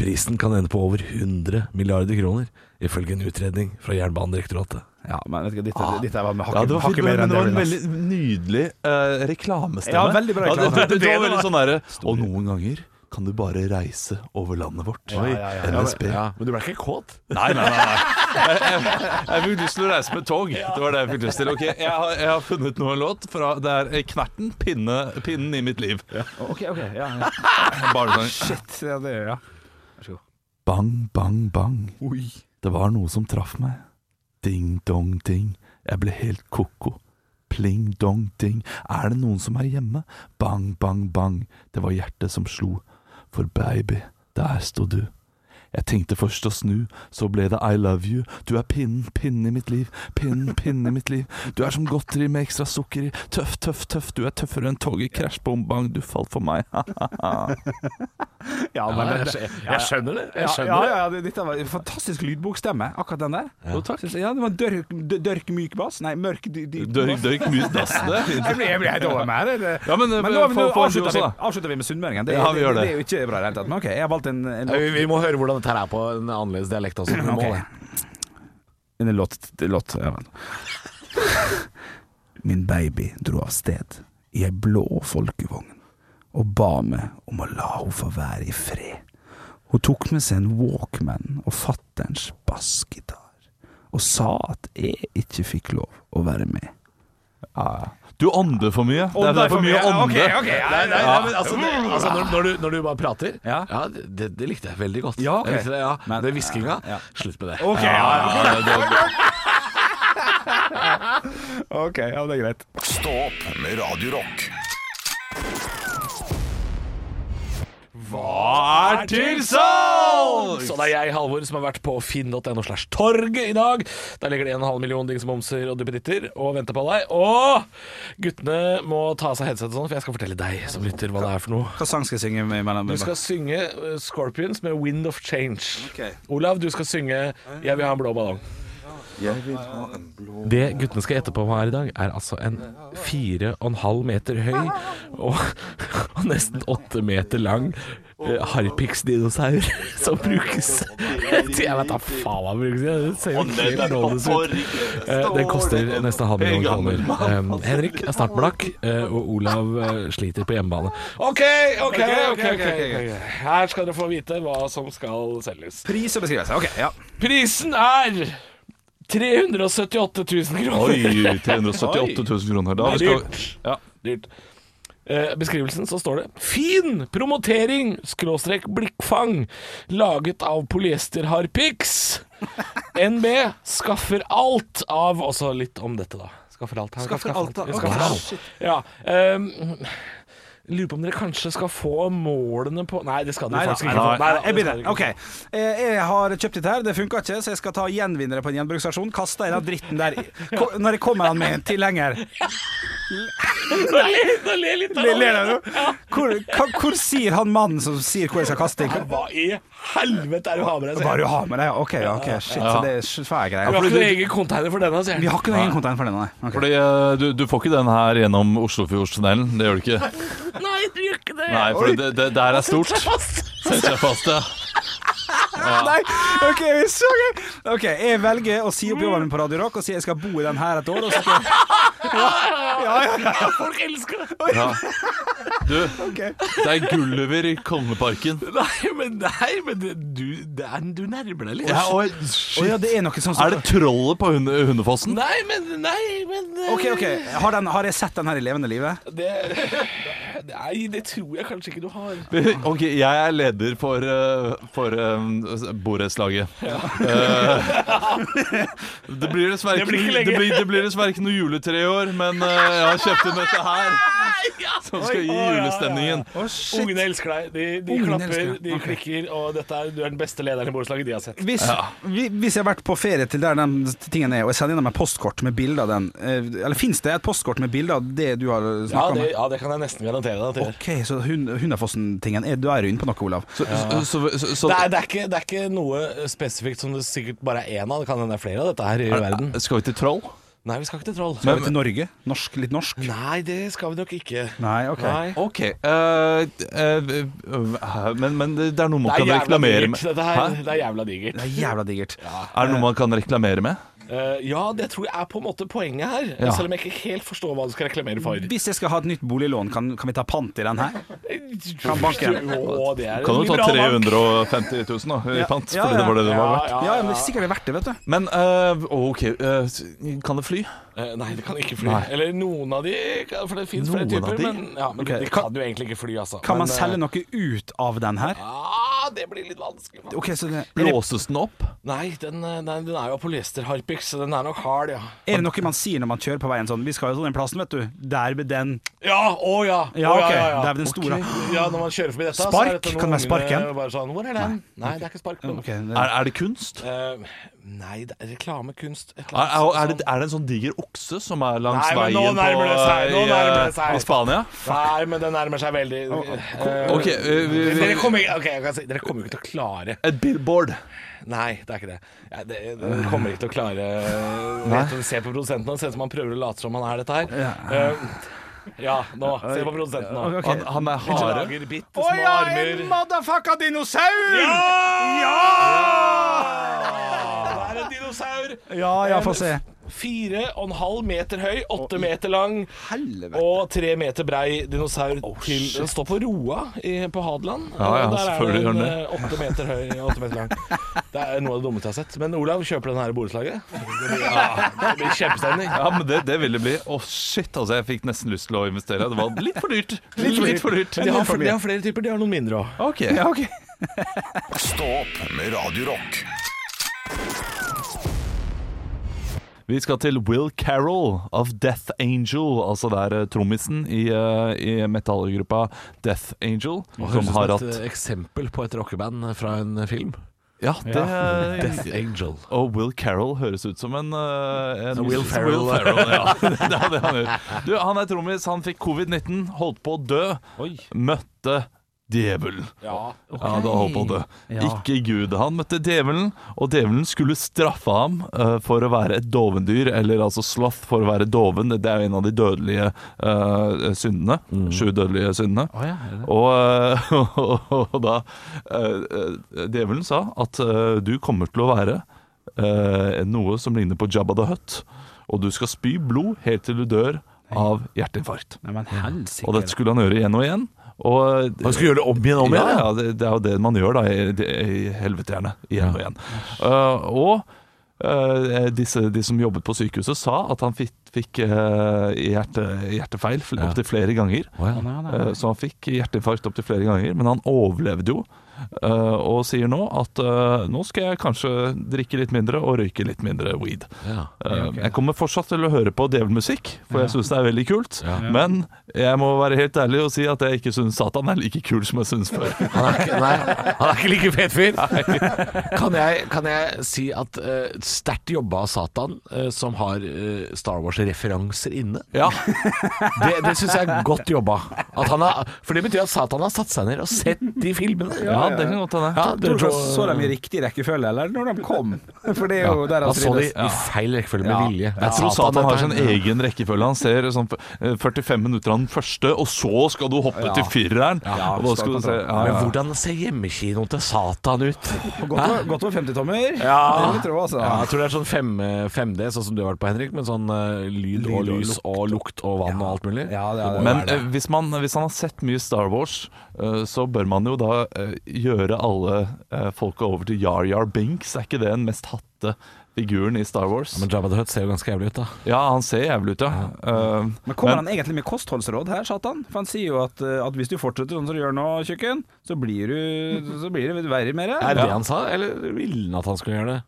[SPEAKER 5] Prisen kan ende på over 100 milliarder kroner, ifølge en utredning fra Jernbanedirektoratet.
[SPEAKER 3] Ja, men vet ikke, dette, dette var med
[SPEAKER 4] Ah. Ja, det
[SPEAKER 3] hakket
[SPEAKER 4] var, fint,
[SPEAKER 3] hakke mer
[SPEAKER 4] men
[SPEAKER 3] enn
[SPEAKER 4] det
[SPEAKER 3] det
[SPEAKER 4] var en
[SPEAKER 3] ville.
[SPEAKER 4] veldig nydelig eh, reklamestemme.
[SPEAKER 3] Ja, veldig bra reklame.
[SPEAKER 4] det, det, det var veldig sånn derre Og noen ganger kan du bare reise over landet vårt. NSB.
[SPEAKER 5] men du ble ikke kåt?
[SPEAKER 4] Nei, nei, nei. nei. Jeg, jeg, jeg fikk lyst til å reise med tog. Det var det jeg fikk lyst til. Ok, Jeg har, jeg har funnet noe låt fra Det er eh, Knerten, pinne, 'Pinnen i mitt liv'. sånn-
[SPEAKER 3] Ok, ok, ja, ja.
[SPEAKER 4] Barnesang.
[SPEAKER 3] Shit, ja, det gjør jeg.
[SPEAKER 4] Bang, bang, bang. Det var noe som traff meg. Ding, dong, ding. Jeg ble helt koko. Pling, dong, ding. Er det noen som er hjemme? Bang, bang, bang. Det var hjertet som slo. For baby, der sto du. Jeg tenkte først å snu, så ble det I love you. Du er pinnen, pinnen i mitt liv, pinnen, pinnen i mitt liv. Du er som godteri med ekstra sukker i. Tøff, tøff, tøff. Du er tøffere enn toget. Krasj, bom, bang. Du falt for meg.
[SPEAKER 3] Ja, men det-
[SPEAKER 5] jeg, skjønner det.
[SPEAKER 3] ja, ja, ja, ja, det- dette var en fantastisk lydbokstemme, akkurat den der. Jo, takk. Synes jeg- Ja, det var en dørk, dør- dørk myk bass. Nei, mørk dy- dyp bass.
[SPEAKER 4] dørk, mus, dass.
[SPEAKER 3] Jeg ble, jeg ble helt over meg. her, det-
[SPEAKER 4] Ja, men, eh,
[SPEAKER 3] Men nå, nå
[SPEAKER 4] få- få en
[SPEAKER 3] avslutter,
[SPEAKER 4] juice,
[SPEAKER 3] vi,
[SPEAKER 4] da.
[SPEAKER 3] avslutter vi med sunnmøringen. Det,
[SPEAKER 4] Ja, vi gjør
[SPEAKER 3] det.
[SPEAKER 4] det.
[SPEAKER 3] er jo ikke bra i det hele tatt. Men ok, jeg har valgt en, en
[SPEAKER 5] Vi, vi må høre hvordan dette her er på en annerledes dialekt også. Vi må
[SPEAKER 3] Ok.
[SPEAKER 5] det.
[SPEAKER 3] En låt, låt ja, vent. Min baby dro av sted i ei blå folkevogn og ba meg om å la henne få være i fred. Hun tok med seg en Walkman og fatterns bassgitar og sa at jeg ikke fikk lov å være med.
[SPEAKER 4] Ja, ja. Du ånder for mye. Det er, det er for mye ånde.
[SPEAKER 3] Ok, ok, ja,
[SPEAKER 5] Nei,
[SPEAKER 3] ja,
[SPEAKER 5] nei, nei, men altså, det, altså når, når, du, når du bare prater Ja,
[SPEAKER 3] Ja.
[SPEAKER 5] det, det likte jeg veldig godt.
[SPEAKER 3] Ja, ok.
[SPEAKER 5] jeg likte det, ja.
[SPEAKER 3] Men-
[SPEAKER 5] det hviskinga,
[SPEAKER 3] ja.
[SPEAKER 5] slutt med det.
[SPEAKER 3] Ok, ja, ja,
[SPEAKER 5] Ja, det, det,
[SPEAKER 3] ok, ja, det er greit.
[SPEAKER 1] Stå opp med Radio Rock.
[SPEAKER 5] er til salg! Så det er jeg, Halvor, som har vært på finn.no slash torget i dag. Der ligger det en halv million dings momser og duppeditter og venter på deg. Og guttene må ta av seg headset og sånn, for jeg skal fortelle deg som lytter hva det er for noe.
[SPEAKER 3] Hva sang skal jeg synge imellom?
[SPEAKER 5] Du skal synge eh, Scorpions med Wind of Change.
[SPEAKER 3] Ok.
[SPEAKER 5] Olav, du skal synge Jeg vil ha en blå ballong. Det guttene skal gjette på hva er i dag, er altså en fire og en halv meter høy og, og nesten åtte meter lang eh, harpiksdinosaur som brukes Jeg vet da faen hva brukes i, det ser jo helt lovende ut. Eh, Det koster nesten halv million kroner. Eh, Henrik er snart blakk, eh, og Olav eh, sliter på hjemmebane. OK, OK, OK. ok, ok. Her skal dere få vite hva som skal selges.
[SPEAKER 3] Pris og beskrivelse. Ok, ja.
[SPEAKER 5] Prisen er 378 000 kroner.
[SPEAKER 4] Oi, 378 000 kroner. Da
[SPEAKER 5] Det er
[SPEAKER 4] skal
[SPEAKER 5] dyrt. dyrt. Eh, beskrivelsen så står det Fin promotering, skråstrek blikkfang, laget av polyesterharpiks. NB skaffer alt av Også litt om dette, da. Skaffer alt. her.
[SPEAKER 3] Skaffer alt, da.
[SPEAKER 5] Skaffer
[SPEAKER 3] Ok,
[SPEAKER 5] alt. Ja. ehm, lurer på om dere kanskje skal få målene på Nei, det skal dere
[SPEAKER 3] Nei, da,
[SPEAKER 5] faktisk
[SPEAKER 3] nei,
[SPEAKER 5] ikke. få.
[SPEAKER 3] da,
[SPEAKER 5] Nei
[SPEAKER 3] jeg
[SPEAKER 5] da, det skal
[SPEAKER 3] begynner.
[SPEAKER 5] dere ikke
[SPEAKER 3] Ok. Eh, Jeg har kjøpt dette her, det funka ikke, så jeg skal ta gjenvinnere på en gjenbruksstasjon. Kaste den dritten der Ko- når jeg kommer han med en tilhenger.
[SPEAKER 5] få. Nei, da ler jeg litt av
[SPEAKER 3] Le- Ler
[SPEAKER 5] det.
[SPEAKER 3] dere nå? Hvor, hva, hvor sier han mannen som sier hvor jeg skal kaste den?
[SPEAKER 5] Hva i helvete er det du har med deg?
[SPEAKER 3] Hva du har med deg? Ok, ja, ok, shit, så det er svære
[SPEAKER 5] Vi
[SPEAKER 3] greier.
[SPEAKER 5] har ikke noen egen container for denne, sier
[SPEAKER 3] Vi
[SPEAKER 5] jeg.
[SPEAKER 3] har ikke noen egen kontein for den, nei. Ok.
[SPEAKER 4] Fordi eh, du, du får ikke den her gjennom Oslofjordstunnelen. Det gjør du ikke.
[SPEAKER 5] Nei, du gjør ikke det.
[SPEAKER 4] Nei, for det, det, det her er stort. Sett deg fast, ja.
[SPEAKER 3] Ah, Nei, ok, vi så gøy. Ok, jeg velger å si opp jobben min på Radio Rock og si jeg skal bo i den her et år. Og så skal jeg,
[SPEAKER 5] Folk elsker det.
[SPEAKER 4] ja. Du, det er Gulliver i Kongeparken.
[SPEAKER 5] Nei, men, nei, men det, du, det er, du nærmer deg litt.
[SPEAKER 4] Ja, oi,
[SPEAKER 3] Å
[SPEAKER 4] shit.
[SPEAKER 3] ja, det er noe sånn som
[SPEAKER 4] Er det trollet på hunde, Hundefossen?
[SPEAKER 5] Nei, men, nei, men eh,
[SPEAKER 3] Ok, ok, har, den, har jeg sett den her i levende livet?
[SPEAKER 5] Det, nei, det tror jeg kanskje ikke du har.
[SPEAKER 4] Ok, jeg er leder for, eh, for eh, borettslaget. Eh, det blir dessverre
[SPEAKER 5] Det blir ikke lenge.
[SPEAKER 4] det blir- det blir dessverre ikke noe juletre i år, men eh, jeg har kjøpt inn dette her, som skal gi julestemningen.
[SPEAKER 3] Å, shit.
[SPEAKER 5] Ungene elsker deg. De, de
[SPEAKER 3] Ungene
[SPEAKER 5] klapper,
[SPEAKER 3] elsker deg.
[SPEAKER 5] de
[SPEAKER 3] Ok.
[SPEAKER 5] klikker, og dette er, du er den beste lederen i borettslaget de har sett.
[SPEAKER 3] Hvis, vi- hvis jeg har vært på ferie til der de tingene er, og jeg sender dem et postkort med bilde av den eh, Eller fins det et postkort med bilde av det du har
[SPEAKER 5] Ja
[SPEAKER 3] snakka
[SPEAKER 5] det,
[SPEAKER 3] om?
[SPEAKER 5] ja, det kan jeg nesten garantere deg. at jeg gjør.
[SPEAKER 3] Ok, så hun, Hundafossen-tingen er, Du er inne på noe, Olav.
[SPEAKER 4] Så, så, så, så,
[SPEAKER 5] Det er, det, er ikke, det er ikke noe spesifikt som det sikkert bare er én av. Det kan hende det er flere av dette her i verden.
[SPEAKER 4] skal vi til troll?
[SPEAKER 5] Nei, vi skal ikke til troll.
[SPEAKER 3] Skal vi til Norge? Norsk, litt norsk?
[SPEAKER 5] Nei, det skal vi nok ikke.
[SPEAKER 3] Nei, ok.
[SPEAKER 5] Nei.
[SPEAKER 4] Ok, eh, eh, eh, men, men det er noe man
[SPEAKER 5] Det er
[SPEAKER 4] kan
[SPEAKER 5] jævla
[SPEAKER 4] reklamere
[SPEAKER 5] digert,
[SPEAKER 4] med.
[SPEAKER 5] dette
[SPEAKER 4] Hæ?
[SPEAKER 5] her. Det er jævla digert.
[SPEAKER 3] Det er jævla digert.
[SPEAKER 4] Er det noe man kan reklamere med?
[SPEAKER 5] Eh, ja, det tror jeg er på en måte poenget her.
[SPEAKER 4] Ja.
[SPEAKER 5] Selv om jeg ikke helt forstår hva du skal reklamere for.
[SPEAKER 3] Hvis jeg skal ha et nytt boliglån, kan, kan vi ta pant i den her? Kan banken.
[SPEAKER 5] Eh, Å, det er
[SPEAKER 4] Kan
[SPEAKER 5] en
[SPEAKER 4] du ta
[SPEAKER 5] liberal bank.
[SPEAKER 4] 350 000 da, i
[SPEAKER 3] Ja,
[SPEAKER 4] pant?
[SPEAKER 3] ja,
[SPEAKER 4] Fordi det var det det var
[SPEAKER 5] Ja,
[SPEAKER 4] verdt.
[SPEAKER 5] ja,
[SPEAKER 3] Ja, men det er sikkert verdt det, vet du.
[SPEAKER 4] Men eh, ok, eh, kan det fly?
[SPEAKER 5] Eh, Nei, det kan ikke fly.
[SPEAKER 4] Nei.
[SPEAKER 5] Eller noen av de, kan- for det fins flere
[SPEAKER 4] Noen av
[SPEAKER 5] typer.
[SPEAKER 4] de?
[SPEAKER 5] Men, ja, men
[SPEAKER 3] Ok.
[SPEAKER 5] de kan jo egentlig ikke fly, altså.
[SPEAKER 3] Kan
[SPEAKER 5] men,
[SPEAKER 3] man selge noe ut av den her?
[SPEAKER 5] Ah, det blir litt vanskelig. man.
[SPEAKER 3] Ok, så det, er, det,
[SPEAKER 4] Blåses den opp?
[SPEAKER 5] Nei, den, eh, nei, den er jo av polyesterharpiks, så den er nok hard, ja.
[SPEAKER 3] er det noe man sier når man kjører på veien sånn Vi skal jo til den plassen, vet du. Der ved den
[SPEAKER 5] Ja, å ja. Å,
[SPEAKER 3] Ja, ok. Det er vel den store.
[SPEAKER 5] Ok. Ja, når man kjører forbi dette, så er
[SPEAKER 3] Spark?
[SPEAKER 5] dette noen
[SPEAKER 3] Kan det være spark
[SPEAKER 5] ungene
[SPEAKER 3] igjen?
[SPEAKER 5] Bare sånn, Hvor er den? Nei, det er ikke spark.
[SPEAKER 3] Ok, det-
[SPEAKER 4] Er, er det kunst?
[SPEAKER 5] Eh, nei, det er reklamekunst et eller
[SPEAKER 3] Ah,
[SPEAKER 4] Er, er, er,
[SPEAKER 5] annet
[SPEAKER 4] det, er det en sånn diger okse som er langs
[SPEAKER 5] Nei, men nå
[SPEAKER 4] veien på,
[SPEAKER 5] nærmer det seg, nå
[SPEAKER 4] i,
[SPEAKER 5] nærmer det
[SPEAKER 4] eh,
[SPEAKER 5] seg.
[SPEAKER 4] i Spania?
[SPEAKER 5] sånn. Nei, men det nærmer seg veldig Eh,
[SPEAKER 4] Ok, eh, vi, vi,
[SPEAKER 5] dere, kommer, ikke- ok, jeg kan si, dere kommer jo ikke til å klare
[SPEAKER 4] et billboard.
[SPEAKER 5] Nei, det er ikke det. Ja, det dere kommer ikke til å klare Vet du, Se på produsenten nå, ser ut som han prøver å late som han er dette her. Eh, ja, nå. Se på produsenten nå.
[SPEAKER 3] Ok.
[SPEAKER 4] Han, han er
[SPEAKER 5] Han
[SPEAKER 4] hare.
[SPEAKER 5] Lager bitte små armer.
[SPEAKER 3] motherfucka dinosaur!
[SPEAKER 5] Ja!
[SPEAKER 3] Ja!
[SPEAKER 5] Ah, Det er en dinosaur.
[SPEAKER 3] Ja, ja, få se.
[SPEAKER 8] 4,5 meter høy, 8 meter lang
[SPEAKER 3] Helvete.
[SPEAKER 8] og 3 meter brei dinosaur til Den står på Roa i, på Hadeland.
[SPEAKER 4] Ja, ja,
[SPEAKER 8] Og der er
[SPEAKER 4] selvfølgelig
[SPEAKER 8] det
[SPEAKER 4] gjør den
[SPEAKER 8] en
[SPEAKER 4] det.
[SPEAKER 8] eh, 8 meter høy og 8 meter lang. Det er noe av det dummeste jeg har sett. Men Olav, kjøper den her i borettslaget? Ja, det blir kjempestemning.
[SPEAKER 4] Ja, men det, det vil det bli. Å, shit, altså. Jeg fikk nesten lyst til å investere. Det var litt for dyrt. Litt, litt for dyrt.
[SPEAKER 8] Men de har, fl- de har flere typer, de har noen mindre òg.
[SPEAKER 4] Ok.
[SPEAKER 1] Stå opp med Radio Rock.
[SPEAKER 4] Vi skal til Will Carroll of Death Angel, altså det er eh, trommisen i, eh, i metallgruppa Death Angel. Som har hatt
[SPEAKER 8] eh,
[SPEAKER 5] Et eksempel på et rockeband fra en film.
[SPEAKER 4] Ja, det
[SPEAKER 5] Death Angel.
[SPEAKER 4] Og Will Carroll høres ut som en, eh, en
[SPEAKER 5] Will Ferrell.
[SPEAKER 4] ja. det er det han gjør. Du, han er trommis, han fikk covid-19, holdt på å dø, møtte djevelen. Ja, da holdt på å dø. Ikke Gud. Han møtte djevelen, og djevelen skulle straffe ham eh, for å være et dovendyr, eller altså sloth for å være doven. Det er jo en av de dødelige eh, syndene.
[SPEAKER 5] Mm.
[SPEAKER 4] Sju dødelige syndene. Og, eh, og, da eh, eh, Djevelen sa at eh, du kommer til å være eh, noe som ligner på Jabba the Hutt, og du skal spy blod helt til du dør av hjerteinfarkt.
[SPEAKER 3] Nei, men
[SPEAKER 4] Og dette
[SPEAKER 3] helsike.
[SPEAKER 4] skulle han gjøre igjen og igjen. Og, eh,
[SPEAKER 5] Han skulle gjøre det om igjen og om igjen?
[SPEAKER 4] ja, ja, det, det er jo det man gjør da i, i helveterne igjen og igjen. Uh, og uh, disse, de som jobbet på sykehuset, sa at han fikk, fikk uh, hjerte, hjertefeil fl-
[SPEAKER 5] Ja.
[SPEAKER 4] opptil flere ganger.
[SPEAKER 5] Å, ja.
[SPEAKER 3] Nei, nei,
[SPEAKER 4] Uh,
[SPEAKER 3] nei.
[SPEAKER 4] Så han fikk hjerteinfarkt opptil flere ganger, men han overlevde jo. Uh, og sier nå at uh, nå skal jeg kanskje drikke litt mindre og røyke litt mindre weed.
[SPEAKER 5] Ja.
[SPEAKER 4] Uh, Jeg kommer fortsatt til å høre på djevelmusikk, for jeg syns det er veldig kult.
[SPEAKER 5] Ja.
[SPEAKER 4] Men jeg må være helt ærlig og si at jeg ikke syns Satan er like kul som jeg syns før.
[SPEAKER 5] Han er ikke, nei, han er ikke like fet fyr. Kan jeg, kan jeg si at eh, sterkt jobba av Satan, eh, som har eh, Star Wars-referanser inne
[SPEAKER 4] Ja,
[SPEAKER 5] Det, det syns jeg er godt jobba. At han har, for det betyr at Satan har satt seg ned og sett de filmene.
[SPEAKER 4] ja det kan godt hende.
[SPEAKER 5] Ja, det,
[SPEAKER 3] Tror du ikke så dem i riktig rekkefølge, eller når de kom? For det er jo der han
[SPEAKER 5] han så de
[SPEAKER 3] strides.
[SPEAKER 5] i feil rekkefølge med
[SPEAKER 3] Ja.
[SPEAKER 5] vilje.
[SPEAKER 4] Jeg tror Satan har sin
[SPEAKER 5] dette her.
[SPEAKER 4] egen rekkefølge. Han ser sånn eh, 45 minutter av den første, og så skal du hoppe til fireren.
[SPEAKER 3] Ja,
[SPEAKER 4] og da skal du se
[SPEAKER 3] Satan.
[SPEAKER 4] ja,
[SPEAKER 5] Men
[SPEAKER 4] ja.
[SPEAKER 5] hvordan ser hjemmekinoen til Satan ut?
[SPEAKER 3] Godt over- Godt over 50-tommer. Det vil jeg tro, altså.
[SPEAKER 5] Ja, jeg tror det er sånn 5, 5D, sånn som du har vært på, Henrik, med sånn eh, lyd, og
[SPEAKER 3] Lyd og
[SPEAKER 5] lys og lukt og vann og alt mulig.
[SPEAKER 3] Ja, det er det.
[SPEAKER 4] Men eh, hvis, man, hvis han har sett mye Star Wars, eh, så bør man jo da eh, gjøre alle eh, folka over til Yar Yar Binks. Er ikke det den mest hatte figuren i Star Wars?
[SPEAKER 5] Men Jabba the Hutt ser jo ganske jævlig ut, da.
[SPEAKER 4] Ja, han ser jævlig ut, ja. Eh,
[SPEAKER 3] Men kommer han egentlig med kostholdsråd her, Satan? For han sier jo at, eh, at hvis du fortsetter sånn som du gjør nå, tjukken, så blir du Så blir det verre med
[SPEAKER 5] Er
[SPEAKER 3] det.
[SPEAKER 5] det det han sa, eller ville han at han skulle gjøre det?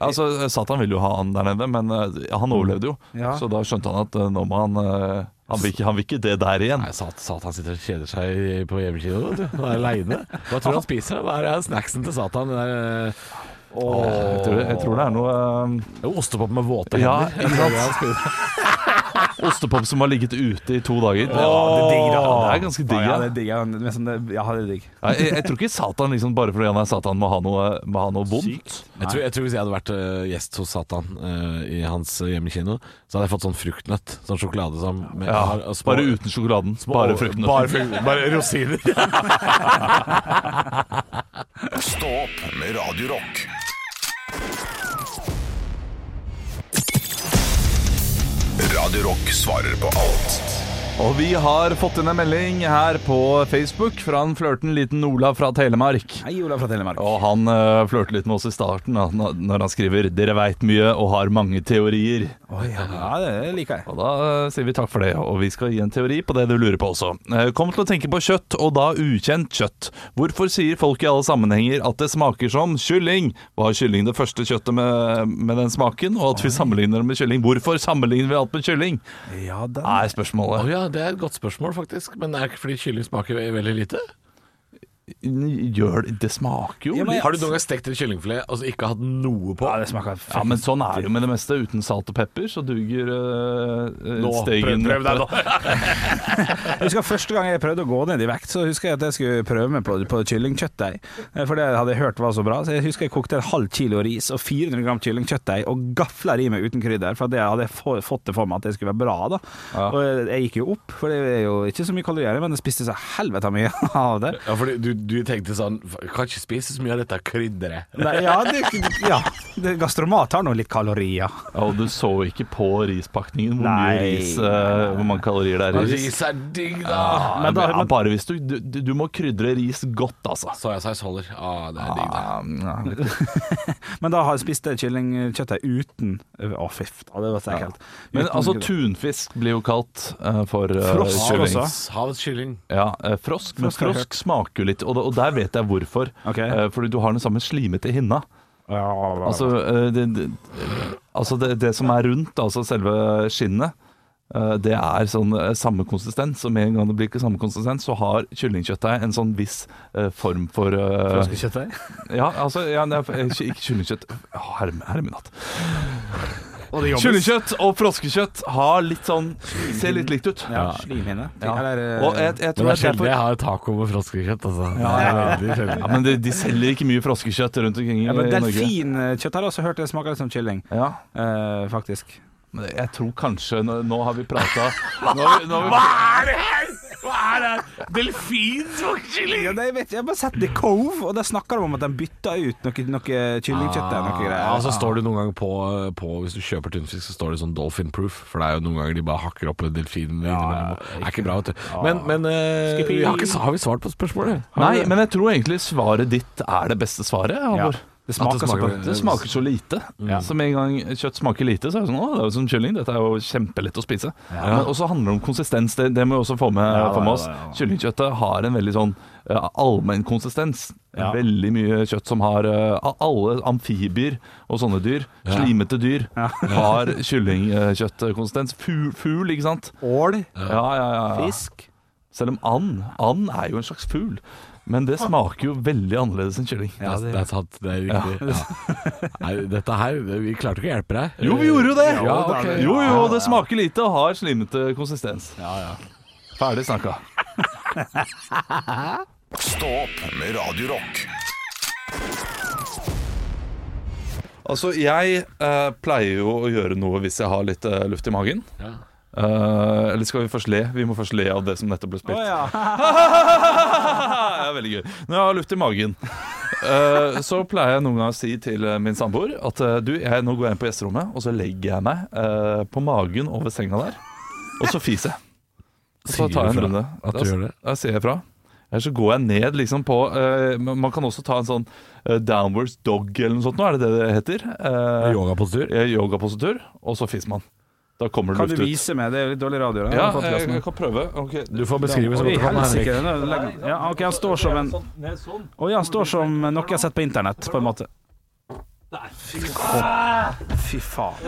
[SPEAKER 4] Altså, Satan ville jo ha han der nede, men eh, han overlevde jo.
[SPEAKER 3] Ja.
[SPEAKER 4] Så da skjønte han at eh, nå må han eh, han vil, ikke, han vil ikke det der igjen.
[SPEAKER 5] Nei, Sat- Satan sitter og kjeder seg på hjemmekino. vet du. Han er aleine. Hva tror du han spiser? Hva er snacksen til Satan? Den der, eh,
[SPEAKER 4] Jeg tror, jeg tror det er noe eh,
[SPEAKER 5] Ostepop med våte
[SPEAKER 4] Ja,
[SPEAKER 5] hender.
[SPEAKER 4] ikke sant? Ostepop som har ligget ute i to dager. det er ganske digg.
[SPEAKER 3] Ja,
[SPEAKER 4] Ja,
[SPEAKER 3] det er digg. Ja, men som det- ja, det er digg.
[SPEAKER 4] Nei, jeg, jeg tror ikke Satan liksom, bare fordi han er Satan, må ha noe, må ha noe vondt.
[SPEAKER 5] Jeg tror, jeg tror Hvis jeg hadde vært eh, gjest hos Satan eh, i hans hjemmekino, så hadde jeg fått sånn fruktnøtt. Sånn sjokolade som med,
[SPEAKER 4] Ja,
[SPEAKER 5] har- og små-
[SPEAKER 4] bare uten sjokoladen. altså, Bare fruktene.
[SPEAKER 5] Bare, frukt- bare rosiner.
[SPEAKER 1] Stå opp med Radio Rock. Radio Rock svarer på alt.
[SPEAKER 4] Og vi har fått inn en melding her på Facebook fra en flørten liten Olav fra Telemark.
[SPEAKER 3] Hei, Olav fra Telemark.
[SPEAKER 4] Og han uh, flørte litt med oss i starten da, na- når han skriver 'Dere veit mye og har mange teorier'.
[SPEAKER 3] Å, ja. ja, det liker jeg.
[SPEAKER 4] Og da eh, sier vi takk for det, og vi skal gi en teori på det du lurer på også. Eh, Kom til å tenke på kjøtt, og da ukjent kjøtt. Hvorfor sier folk i alle sammenhenger at det smaker som kylling? Var kylling det første kjøttet med, med den smaken, og at vi sammenligner det med kylling? Hvorfor sammenligner vi alt med kylling?
[SPEAKER 3] Ja, den.
[SPEAKER 4] Er
[SPEAKER 5] Å
[SPEAKER 4] spørsmålet.
[SPEAKER 5] ja, det er et godt spørsmål, faktisk. Men er det ikke fordi kylling smaker ve veldig lite?
[SPEAKER 4] Gjør det Det smaker jo
[SPEAKER 3] Ja, men jeg-
[SPEAKER 5] Har du noen gang stekt en kyllingfilet og så ikke hatt noe på?
[SPEAKER 3] Ja, det smaker fint.
[SPEAKER 4] Ja, men sånn er det jo med det meste. Uten salt og pepper så duger uh, steigen
[SPEAKER 5] deg, da.
[SPEAKER 3] Jeg husker Første gang jeg prøvde å gå ned i vekt, Så husker jeg at jeg skulle prøve meg på, på kyllingkjøttdeig. Eh, For det hadde jeg hørt var så bra. Så Jeg husker jeg kokte en halv kilo ris og 400 gram kyllingkjøttdeig og gafla i meg uten krydder. For det hadde jeg få- fått det for meg at det skulle være bra. da eh, Og jeg gikk jo opp, for det er jo ikke så mye kalorier, men jeg spiste så helvete mye av det.
[SPEAKER 5] Ja, fordi du, du tenkte sånn "F- Kan ikke spise så mye av dette krydderet.
[SPEAKER 3] Nei, ja, det, ja. Det, gastromat har nå litt kalorier.
[SPEAKER 4] Og du så ikke på rispakningen hvor
[SPEAKER 3] Nei.
[SPEAKER 4] mye ris, eh, hvor mange kalorier det er i ris. Ah,
[SPEAKER 5] Ris er digg, da!
[SPEAKER 4] Men da, ja, bare hvis du, du, du må krydre ris godt, altså.
[SPEAKER 5] Soyasaus holder. Ah, det er digg, da.
[SPEAKER 3] Men da har jeg spist det kyllingkjøttet uten eh, Å, fy faen, det var så ekkelt.
[SPEAKER 4] Men
[SPEAKER 3] Uten-
[SPEAKER 4] altså, tunfisk blir jo kalt eh, for eh,
[SPEAKER 3] Frosk
[SPEAKER 4] kylling.
[SPEAKER 3] også.
[SPEAKER 5] Havets kylling.
[SPEAKER 4] Ja, eh, frosk, men
[SPEAKER 3] Frosk har jeg
[SPEAKER 4] frosk smaker jo litt, og, da- og der vet jeg hvorfor.
[SPEAKER 3] Ok.
[SPEAKER 4] Eh, fordi du har den samme slimete hinna.
[SPEAKER 3] Ja,
[SPEAKER 4] Altså, eh, det, det, altså det, det som er rundt, altså selve skinnet, eh, det er sånn eh, samme konsistens. Og med en gang det blir ikke samme konsistens, så har kyllingkjøttdeig en sånn viss eh, form for eh,
[SPEAKER 3] Froskekjøttdeig?
[SPEAKER 4] Ja, altså ja, nei, eh, ikke ikke kyllingkjøtt. Å, Herre, herre min hatt.
[SPEAKER 3] jobbes.
[SPEAKER 4] Kyllingkjøtt og froskekjøtt har litt sånn Ser litt likt ut.
[SPEAKER 3] Ja, slimhinne. eh,
[SPEAKER 4] Ja.
[SPEAKER 3] Eller,
[SPEAKER 4] Og jeg, jeg
[SPEAKER 5] eh, Det
[SPEAKER 4] tror det
[SPEAKER 5] er
[SPEAKER 4] er
[SPEAKER 5] sjelden
[SPEAKER 4] derfor
[SPEAKER 5] jeg har taco med froskekjøtt, altså. Det er veldig sjelden.
[SPEAKER 4] Ja, men de, de selger ikke mye froskekjøtt rundt omkring i
[SPEAKER 3] ja, men
[SPEAKER 4] Norge.
[SPEAKER 3] Delfinkjøtt har jeg også hørt det smaker litt som kylling,
[SPEAKER 4] Ja,
[SPEAKER 3] eh, faktisk.
[SPEAKER 4] men jeg tror kanskje Nå, nå har vi prata nå, har vi- nå har
[SPEAKER 3] Ja, nei, jeg vet, ikke, jeg har bare sett The Cove, og der snakker de om at de bytter ut noe, noe kyllingkjøtt. og noe greier.
[SPEAKER 5] Ja, og så står det noen ganger på, på Hvis du kjøper tunfisk, så står det sånn dolphin proof. For det er jo noen ganger de bare hakker opp delfinen. innimellom. det er ikke bra, vet du. Men, men eh, vi har, ikke, har vi svart på spørsmålet?
[SPEAKER 4] vi, Ah. nei, men jeg tror egentlig svaret ditt er det beste svaret. Halvor.
[SPEAKER 3] Det smaker,
[SPEAKER 5] smaker-
[SPEAKER 3] så godt.
[SPEAKER 4] Det smaker så lite. Så med en gang kjøtt smaker lite, så er det sånn Å, det er jo som kylling. Dette er jo kjempelett å spise. Men også handler det om konsistens. Det, det må vi også få med, få med oss. Kyllingkjøttet har en veldig sånn eh, allmenn konsistens. Veldig mye kjøtt som har eh, a- Alle amfibier og sånne dyr, slimete dyr, har kyllingkjøttkonsistens. Fugl, fugl, ikke sant?
[SPEAKER 3] Ål,
[SPEAKER 4] Ja, ja, ja. ja.
[SPEAKER 3] fisk
[SPEAKER 4] Selv om and And er jo en slags fugl. Men det smaker jo veldig annerledes enn kylling.
[SPEAKER 5] Ja, Altså, det, er sant, det er riktig. Ja. Nei, dette her Vi klarte ikke å hjelpe deg.
[SPEAKER 4] Jo, vi gjorde jo det!
[SPEAKER 5] Ja, ok.
[SPEAKER 4] Jo, jo, det smaker lite og har slimete konsistens. Ferdig snakka.
[SPEAKER 1] Stå opp med Radio Rock.
[SPEAKER 4] Altså, jeg eh, pleier jo å gjøre noe hvis jeg har litt eh, luft i magen.
[SPEAKER 5] Ja.
[SPEAKER 4] Eh, eller skal vi først le? Vi må først le av det som nettopp ble spilt. det er veldig gøy. Når jeg har luft i magen, eh, så pleier jeg noen ganger å si til eh, min samboer at eh, du, jeg, nå går jeg inn på gjesterommet, og så legger jeg meg eh, på magen over senga der, og så fiser jeg. Og så
[SPEAKER 5] Sier
[SPEAKER 4] tar jeg
[SPEAKER 5] du
[SPEAKER 4] en
[SPEAKER 5] fra
[SPEAKER 4] runde.
[SPEAKER 5] at du
[SPEAKER 4] Da-
[SPEAKER 5] gjør det?
[SPEAKER 4] Da sier jeg fra. Eller så går jeg ned liksom på eh, men Man kan også ta en sånn eh, downwards dog eller noe sånt, nå er det det det heter? Eh,
[SPEAKER 5] Yogapostur.
[SPEAKER 4] eh, Yogapositur, og så fiser man. Da kommer
[SPEAKER 3] kan
[SPEAKER 4] det
[SPEAKER 3] du
[SPEAKER 4] luft ut.
[SPEAKER 3] vise meg. Det er litt dårlig radio. da,
[SPEAKER 4] Ja,
[SPEAKER 3] den
[SPEAKER 4] jeg,
[SPEAKER 3] podcasten.
[SPEAKER 4] jeg kan prøve. Ok,
[SPEAKER 5] Du får beskrive så
[SPEAKER 3] Oi,
[SPEAKER 5] godt du kan.
[SPEAKER 3] helsike,
[SPEAKER 5] Henrik.
[SPEAKER 3] den er lang. Ja, ok, han står som
[SPEAKER 5] Sånn,
[SPEAKER 3] en Å ja, han står som noe jeg har sett på internett, på en måte. Fy faen.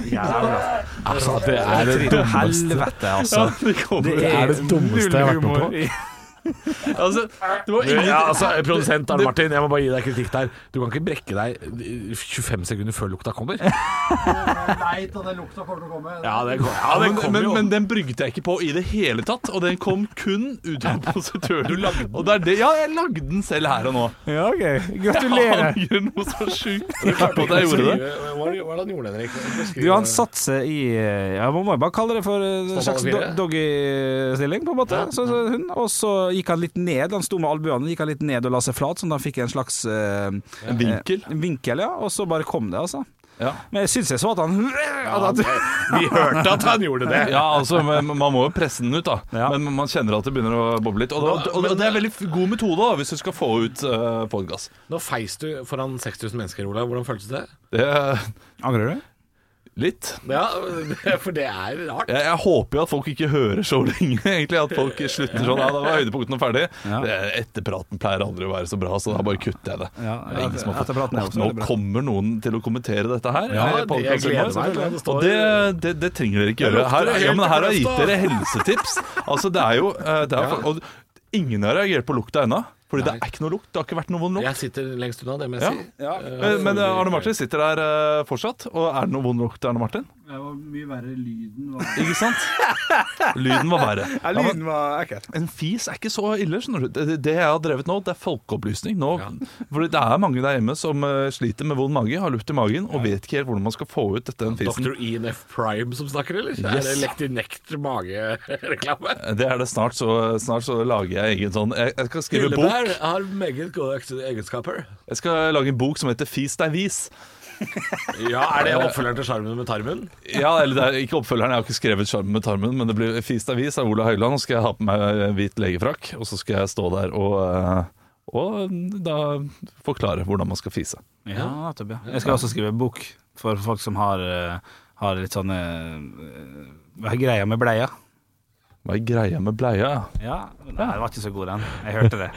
[SPEAKER 3] Jævla.
[SPEAKER 5] Altså, det er det dummeste
[SPEAKER 3] Helvete, altså.
[SPEAKER 5] Det er det dummeste jeg har vært med på.
[SPEAKER 4] Altså, det var ingen
[SPEAKER 5] Ja, altså, Produsent Arne Martin, jeg må bare gi deg kritikk der. Du kan ikke brekke deg eh, 25 sekunder før lukta kommer. Ja, det kom, ja, det
[SPEAKER 4] men,
[SPEAKER 5] kommer
[SPEAKER 4] men,
[SPEAKER 5] jo.
[SPEAKER 4] men den brygget jeg ikke på i det hele tatt, og den kom kun ut av positøren. Du lagde den? Og det er det, ja, jeg lagde den selv her og nå.
[SPEAKER 3] Ja, ok.
[SPEAKER 4] Jeg
[SPEAKER 3] Gratulerer.
[SPEAKER 4] angrer noe så sjukt på at jeg gjorde det.
[SPEAKER 8] Hvordan gjorde Henrik?
[SPEAKER 3] Du, han satte seg i Ja, man må jo bare kalle det for eh, en slags
[SPEAKER 8] Stående fire.
[SPEAKER 3] do doggy-stilling, på en måte. Så, så hun, og så gikk han litt ned. Han sto med albuene, gikk han litt ned og la seg flat, sånn at han fikk en slags eh,
[SPEAKER 4] En vinkel.
[SPEAKER 3] eh, vinkel, ja. Og så bare kom det, altså.
[SPEAKER 4] Ja.
[SPEAKER 3] Men jeg syns jeg så at han at, at,
[SPEAKER 5] Vi hørte at han gjorde det.
[SPEAKER 4] Ja, altså, men Man må jo presse den ut, da.
[SPEAKER 3] Ja.
[SPEAKER 4] Men man kjenner at det begynner å boble litt. Og, det- og, det- og det er veldig f- god metode da, hvis du skal få ut uh, podgass.
[SPEAKER 5] Nå feis du foran 6000 mennesker, Olav. Hvordan føltes det?
[SPEAKER 4] Det er
[SPEAKER 3] Angrer du?
[SPEAKER 4] litt.
[SPEAKER 5] Ja, for det er rart.
[SPEAKER 4] Jeg, jeg håper jo at folk ikke hører så lenge, egentlig. At folk slutter sånn. Ja, da var høydepunktene ferdig.
[SPEAKER 3] Ja.
[SPEAKER 4] Det, etterpraten pleier aldri å være så bra, så da bare kutter jeg det.
[SPEAKER 3] Ja,
[SPEAKER 4] Det er ingen som har fått-
[SPEAKER 3] etterpraten er
[SPEAKER 4] Åh,
[SPEAKER 3] også
[SPEAKER 4] nå
[SPEAKER 3] veldig bra.
[SPEAKER 4] kommer noen til å kommentere dette her. Eh,
[SPEAKER 5] Ja,
[SPEAKER 4] i
[SPEAKER 5] det- jeg
[SPEAKER 4] podcasten vår.
[SPEAKER 5] gleder meg til det. Det står-
[SPEAKER 4] Og det, det, det trenger dere ikke
[SPEAKER 5] Det
[SPEAKER 4] gjøre.
[SPEAKER 5] lukter
[SPEAKER 4] Her,
[SPEAKER 5] helt
[SPEAKER 4] ja, men her har jeg gitt
[SPEAKER 5] fornuftig.
[SPEAKER 4] dere helsetips. Altså, det er jo eh, det er, Og ingen har reagert på lukta ennå. Fordi det er ikke noe lukt. Det har ikke vært noe vond lukt.
[SPEAKER 5] Jeg sitter lengst unna, det må jeg
[SPEAKER 4] Ja.
[SPEAKER 5] si.
[SPEAKER 4] eh, Men, men Arne Martin sitter der eh, fortsatt. Og er det noe vond lukt, Arne Martin?
[SPEAKER 9] Det var mye verre lyden. Var.
[SPEAKER 4] Ikke sant? Lyden var verre.
[SPEAKER 3] Ja, lyden var ekkel.
[SPEAKER 4] En fis er ikke så ille. skjønner du Det, det jeg har drevet nå, det er folkeopplysning. Nå, Fordi det er mange der hjemme som eh, sliter med vond mage, har luft i magen og vet ikke helt hvordan man skal få ut dette den fisen.
[SPEAKER 5] Dr. Ian E F. Prime som snakker, eller? Er det Lektinekt magereklame?
[SPEAKER 4] Det er det snart, så, snart så lager jeg egen sånn Jeg, jeg skal skrive bok.
[SPEAKER 5] Hyllebær har meget gode egenskaper.
[SPEAKER 4] Jeg skal lage en bok som heter 'Fis deg vis'.
[SPEAKER 5] Ja, Er det oppfølgeren til Sjarmen med tarmen?
[SPEAKER 4] Ja, eller det er ikke oppfølgeren, jeg har ikke skrevet 'Sjarmen med tarmen', men det blir 'Fis deg vis' av Ola Høiland. Nå skal jeg ha på meg hvit legefrakk, og så skal jeg stå der og, eh, og da forklare hvordan man skal fise.
[SPEAKER 3] Ja, nettopp, ja. Jeg skal også skrive bok for folk som har, eh, har litt sånne eh, Hva er greia med bleia?
[SPEAKER 4] Hva er greia med bleia?
[SPEAKER 3] Ja, Nei, det var ikke så god den. Jeg hørte det.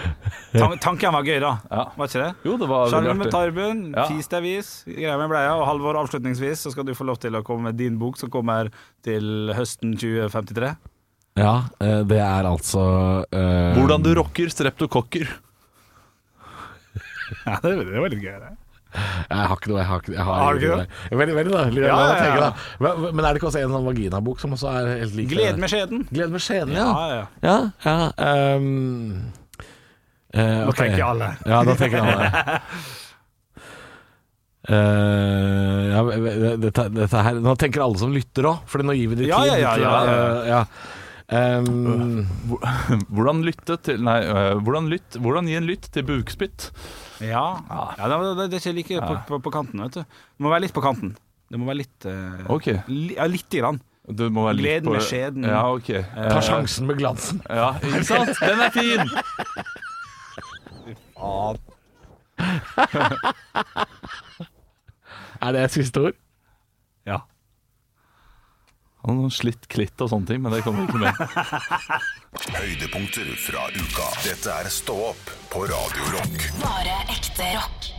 [SPEAKER 3] Tan tanken var gøy, da.
[SPEAKER 4] Ja.
[SPEAKER 3] Var ikke det?
[SPEAKER 4] Jo, det var veldig
[SPEAKER 3] Sjarmen med
[SPEAKER 4] artig.
[SPEAKER 3] tarmen,
[SPEAKER 4] Ja.
[SPEAKER 3] fis deg vis, greia med bleia. Og Halvor, avslutningsvis så skal du få lov til å komme med din bok, som kommer til høsten 2053.
[SPEAKER 5] Ja, eh, det er altså eh,
[SPEAKER 4] Hvordan du rocker streptokokker.
[SPEAKER 3] Ja, det, det var litt gøy, det.
[SPEAKER 5] Jeg har ikke noe. Jeg har, ikke, jeg har,
[SPEAKER 3] Har du ikke
[SPEAKER 5] ikke noe. Veldig, veldig, da. La,
[SPEAKER 3] Ja,
[SPEAKER 5] la,
[SPEAKER 3] ja,
[SPEAKER 5] tenke,
[SPEAKER 3] ja.
[SPEAKER 5] da. Men, men er det ikke også en sånn vaginabok som også er helt lik?
[SPEAKER 3] Gled med skjeden.
[SPEAKER 5] Gled med skjeden, ja.
[SPEAKER 3] Ja, ja.
[SPEAKER 5] Ja, ja. ehm, eh, ok.
[SPEAKER 3] tenker alle.
[SPEAKER 5] Ja, da tenker alle. Eh, ja, men, eh, dette, dette her Nå tenker alle som lytter òg, for nå gir vi dem
[SPEAKER 3] Ja,
[SPEAKER 5] tid.
[SPEAKER 3] ja, ja,
[SPEAKER 5] til å,
[SPEAKER 3] ja, ja.
[SPEAKER 5] eh, ja. Ehm,
[SPEAKER 4] Hvordan lytte til Nei, øh, hvordan, lytt, hvordan gi en lytt til bukspytt?
[SPEAKER 3] Ja, ja det, det, det er ikke like på, på, på kanten, vet du. Det må være litt på kanten. Det må være litt eh,
[SPEAKER 4] Ok.
[SPEAKER 3] li, Ja, lite grann.
[SPEAKER 4] Du må være litt
[SPEAKER 3] Gled
[SPEAKER 4] på-
[SPEAKER 3] med skjeden. Eh,
[SPEAKER 4] Ja, ok.
[SPEAKER 5] ta sjansen med glansen.
[SPEAKER 4] Ja, ikke sant? Den er fin!
[SPEAKER 5] Er det et siste ord?
[SPEAKER 3] Ja.
[SPEAKER 4] Han har noen slitt klitt og sånne ting, men det kommer ikke med.
[SPEAKER 1] Høydepunkter fra uka. Dette er Stå opp på Radio Rock.
[SPEAKER 2] Bare ekte rock.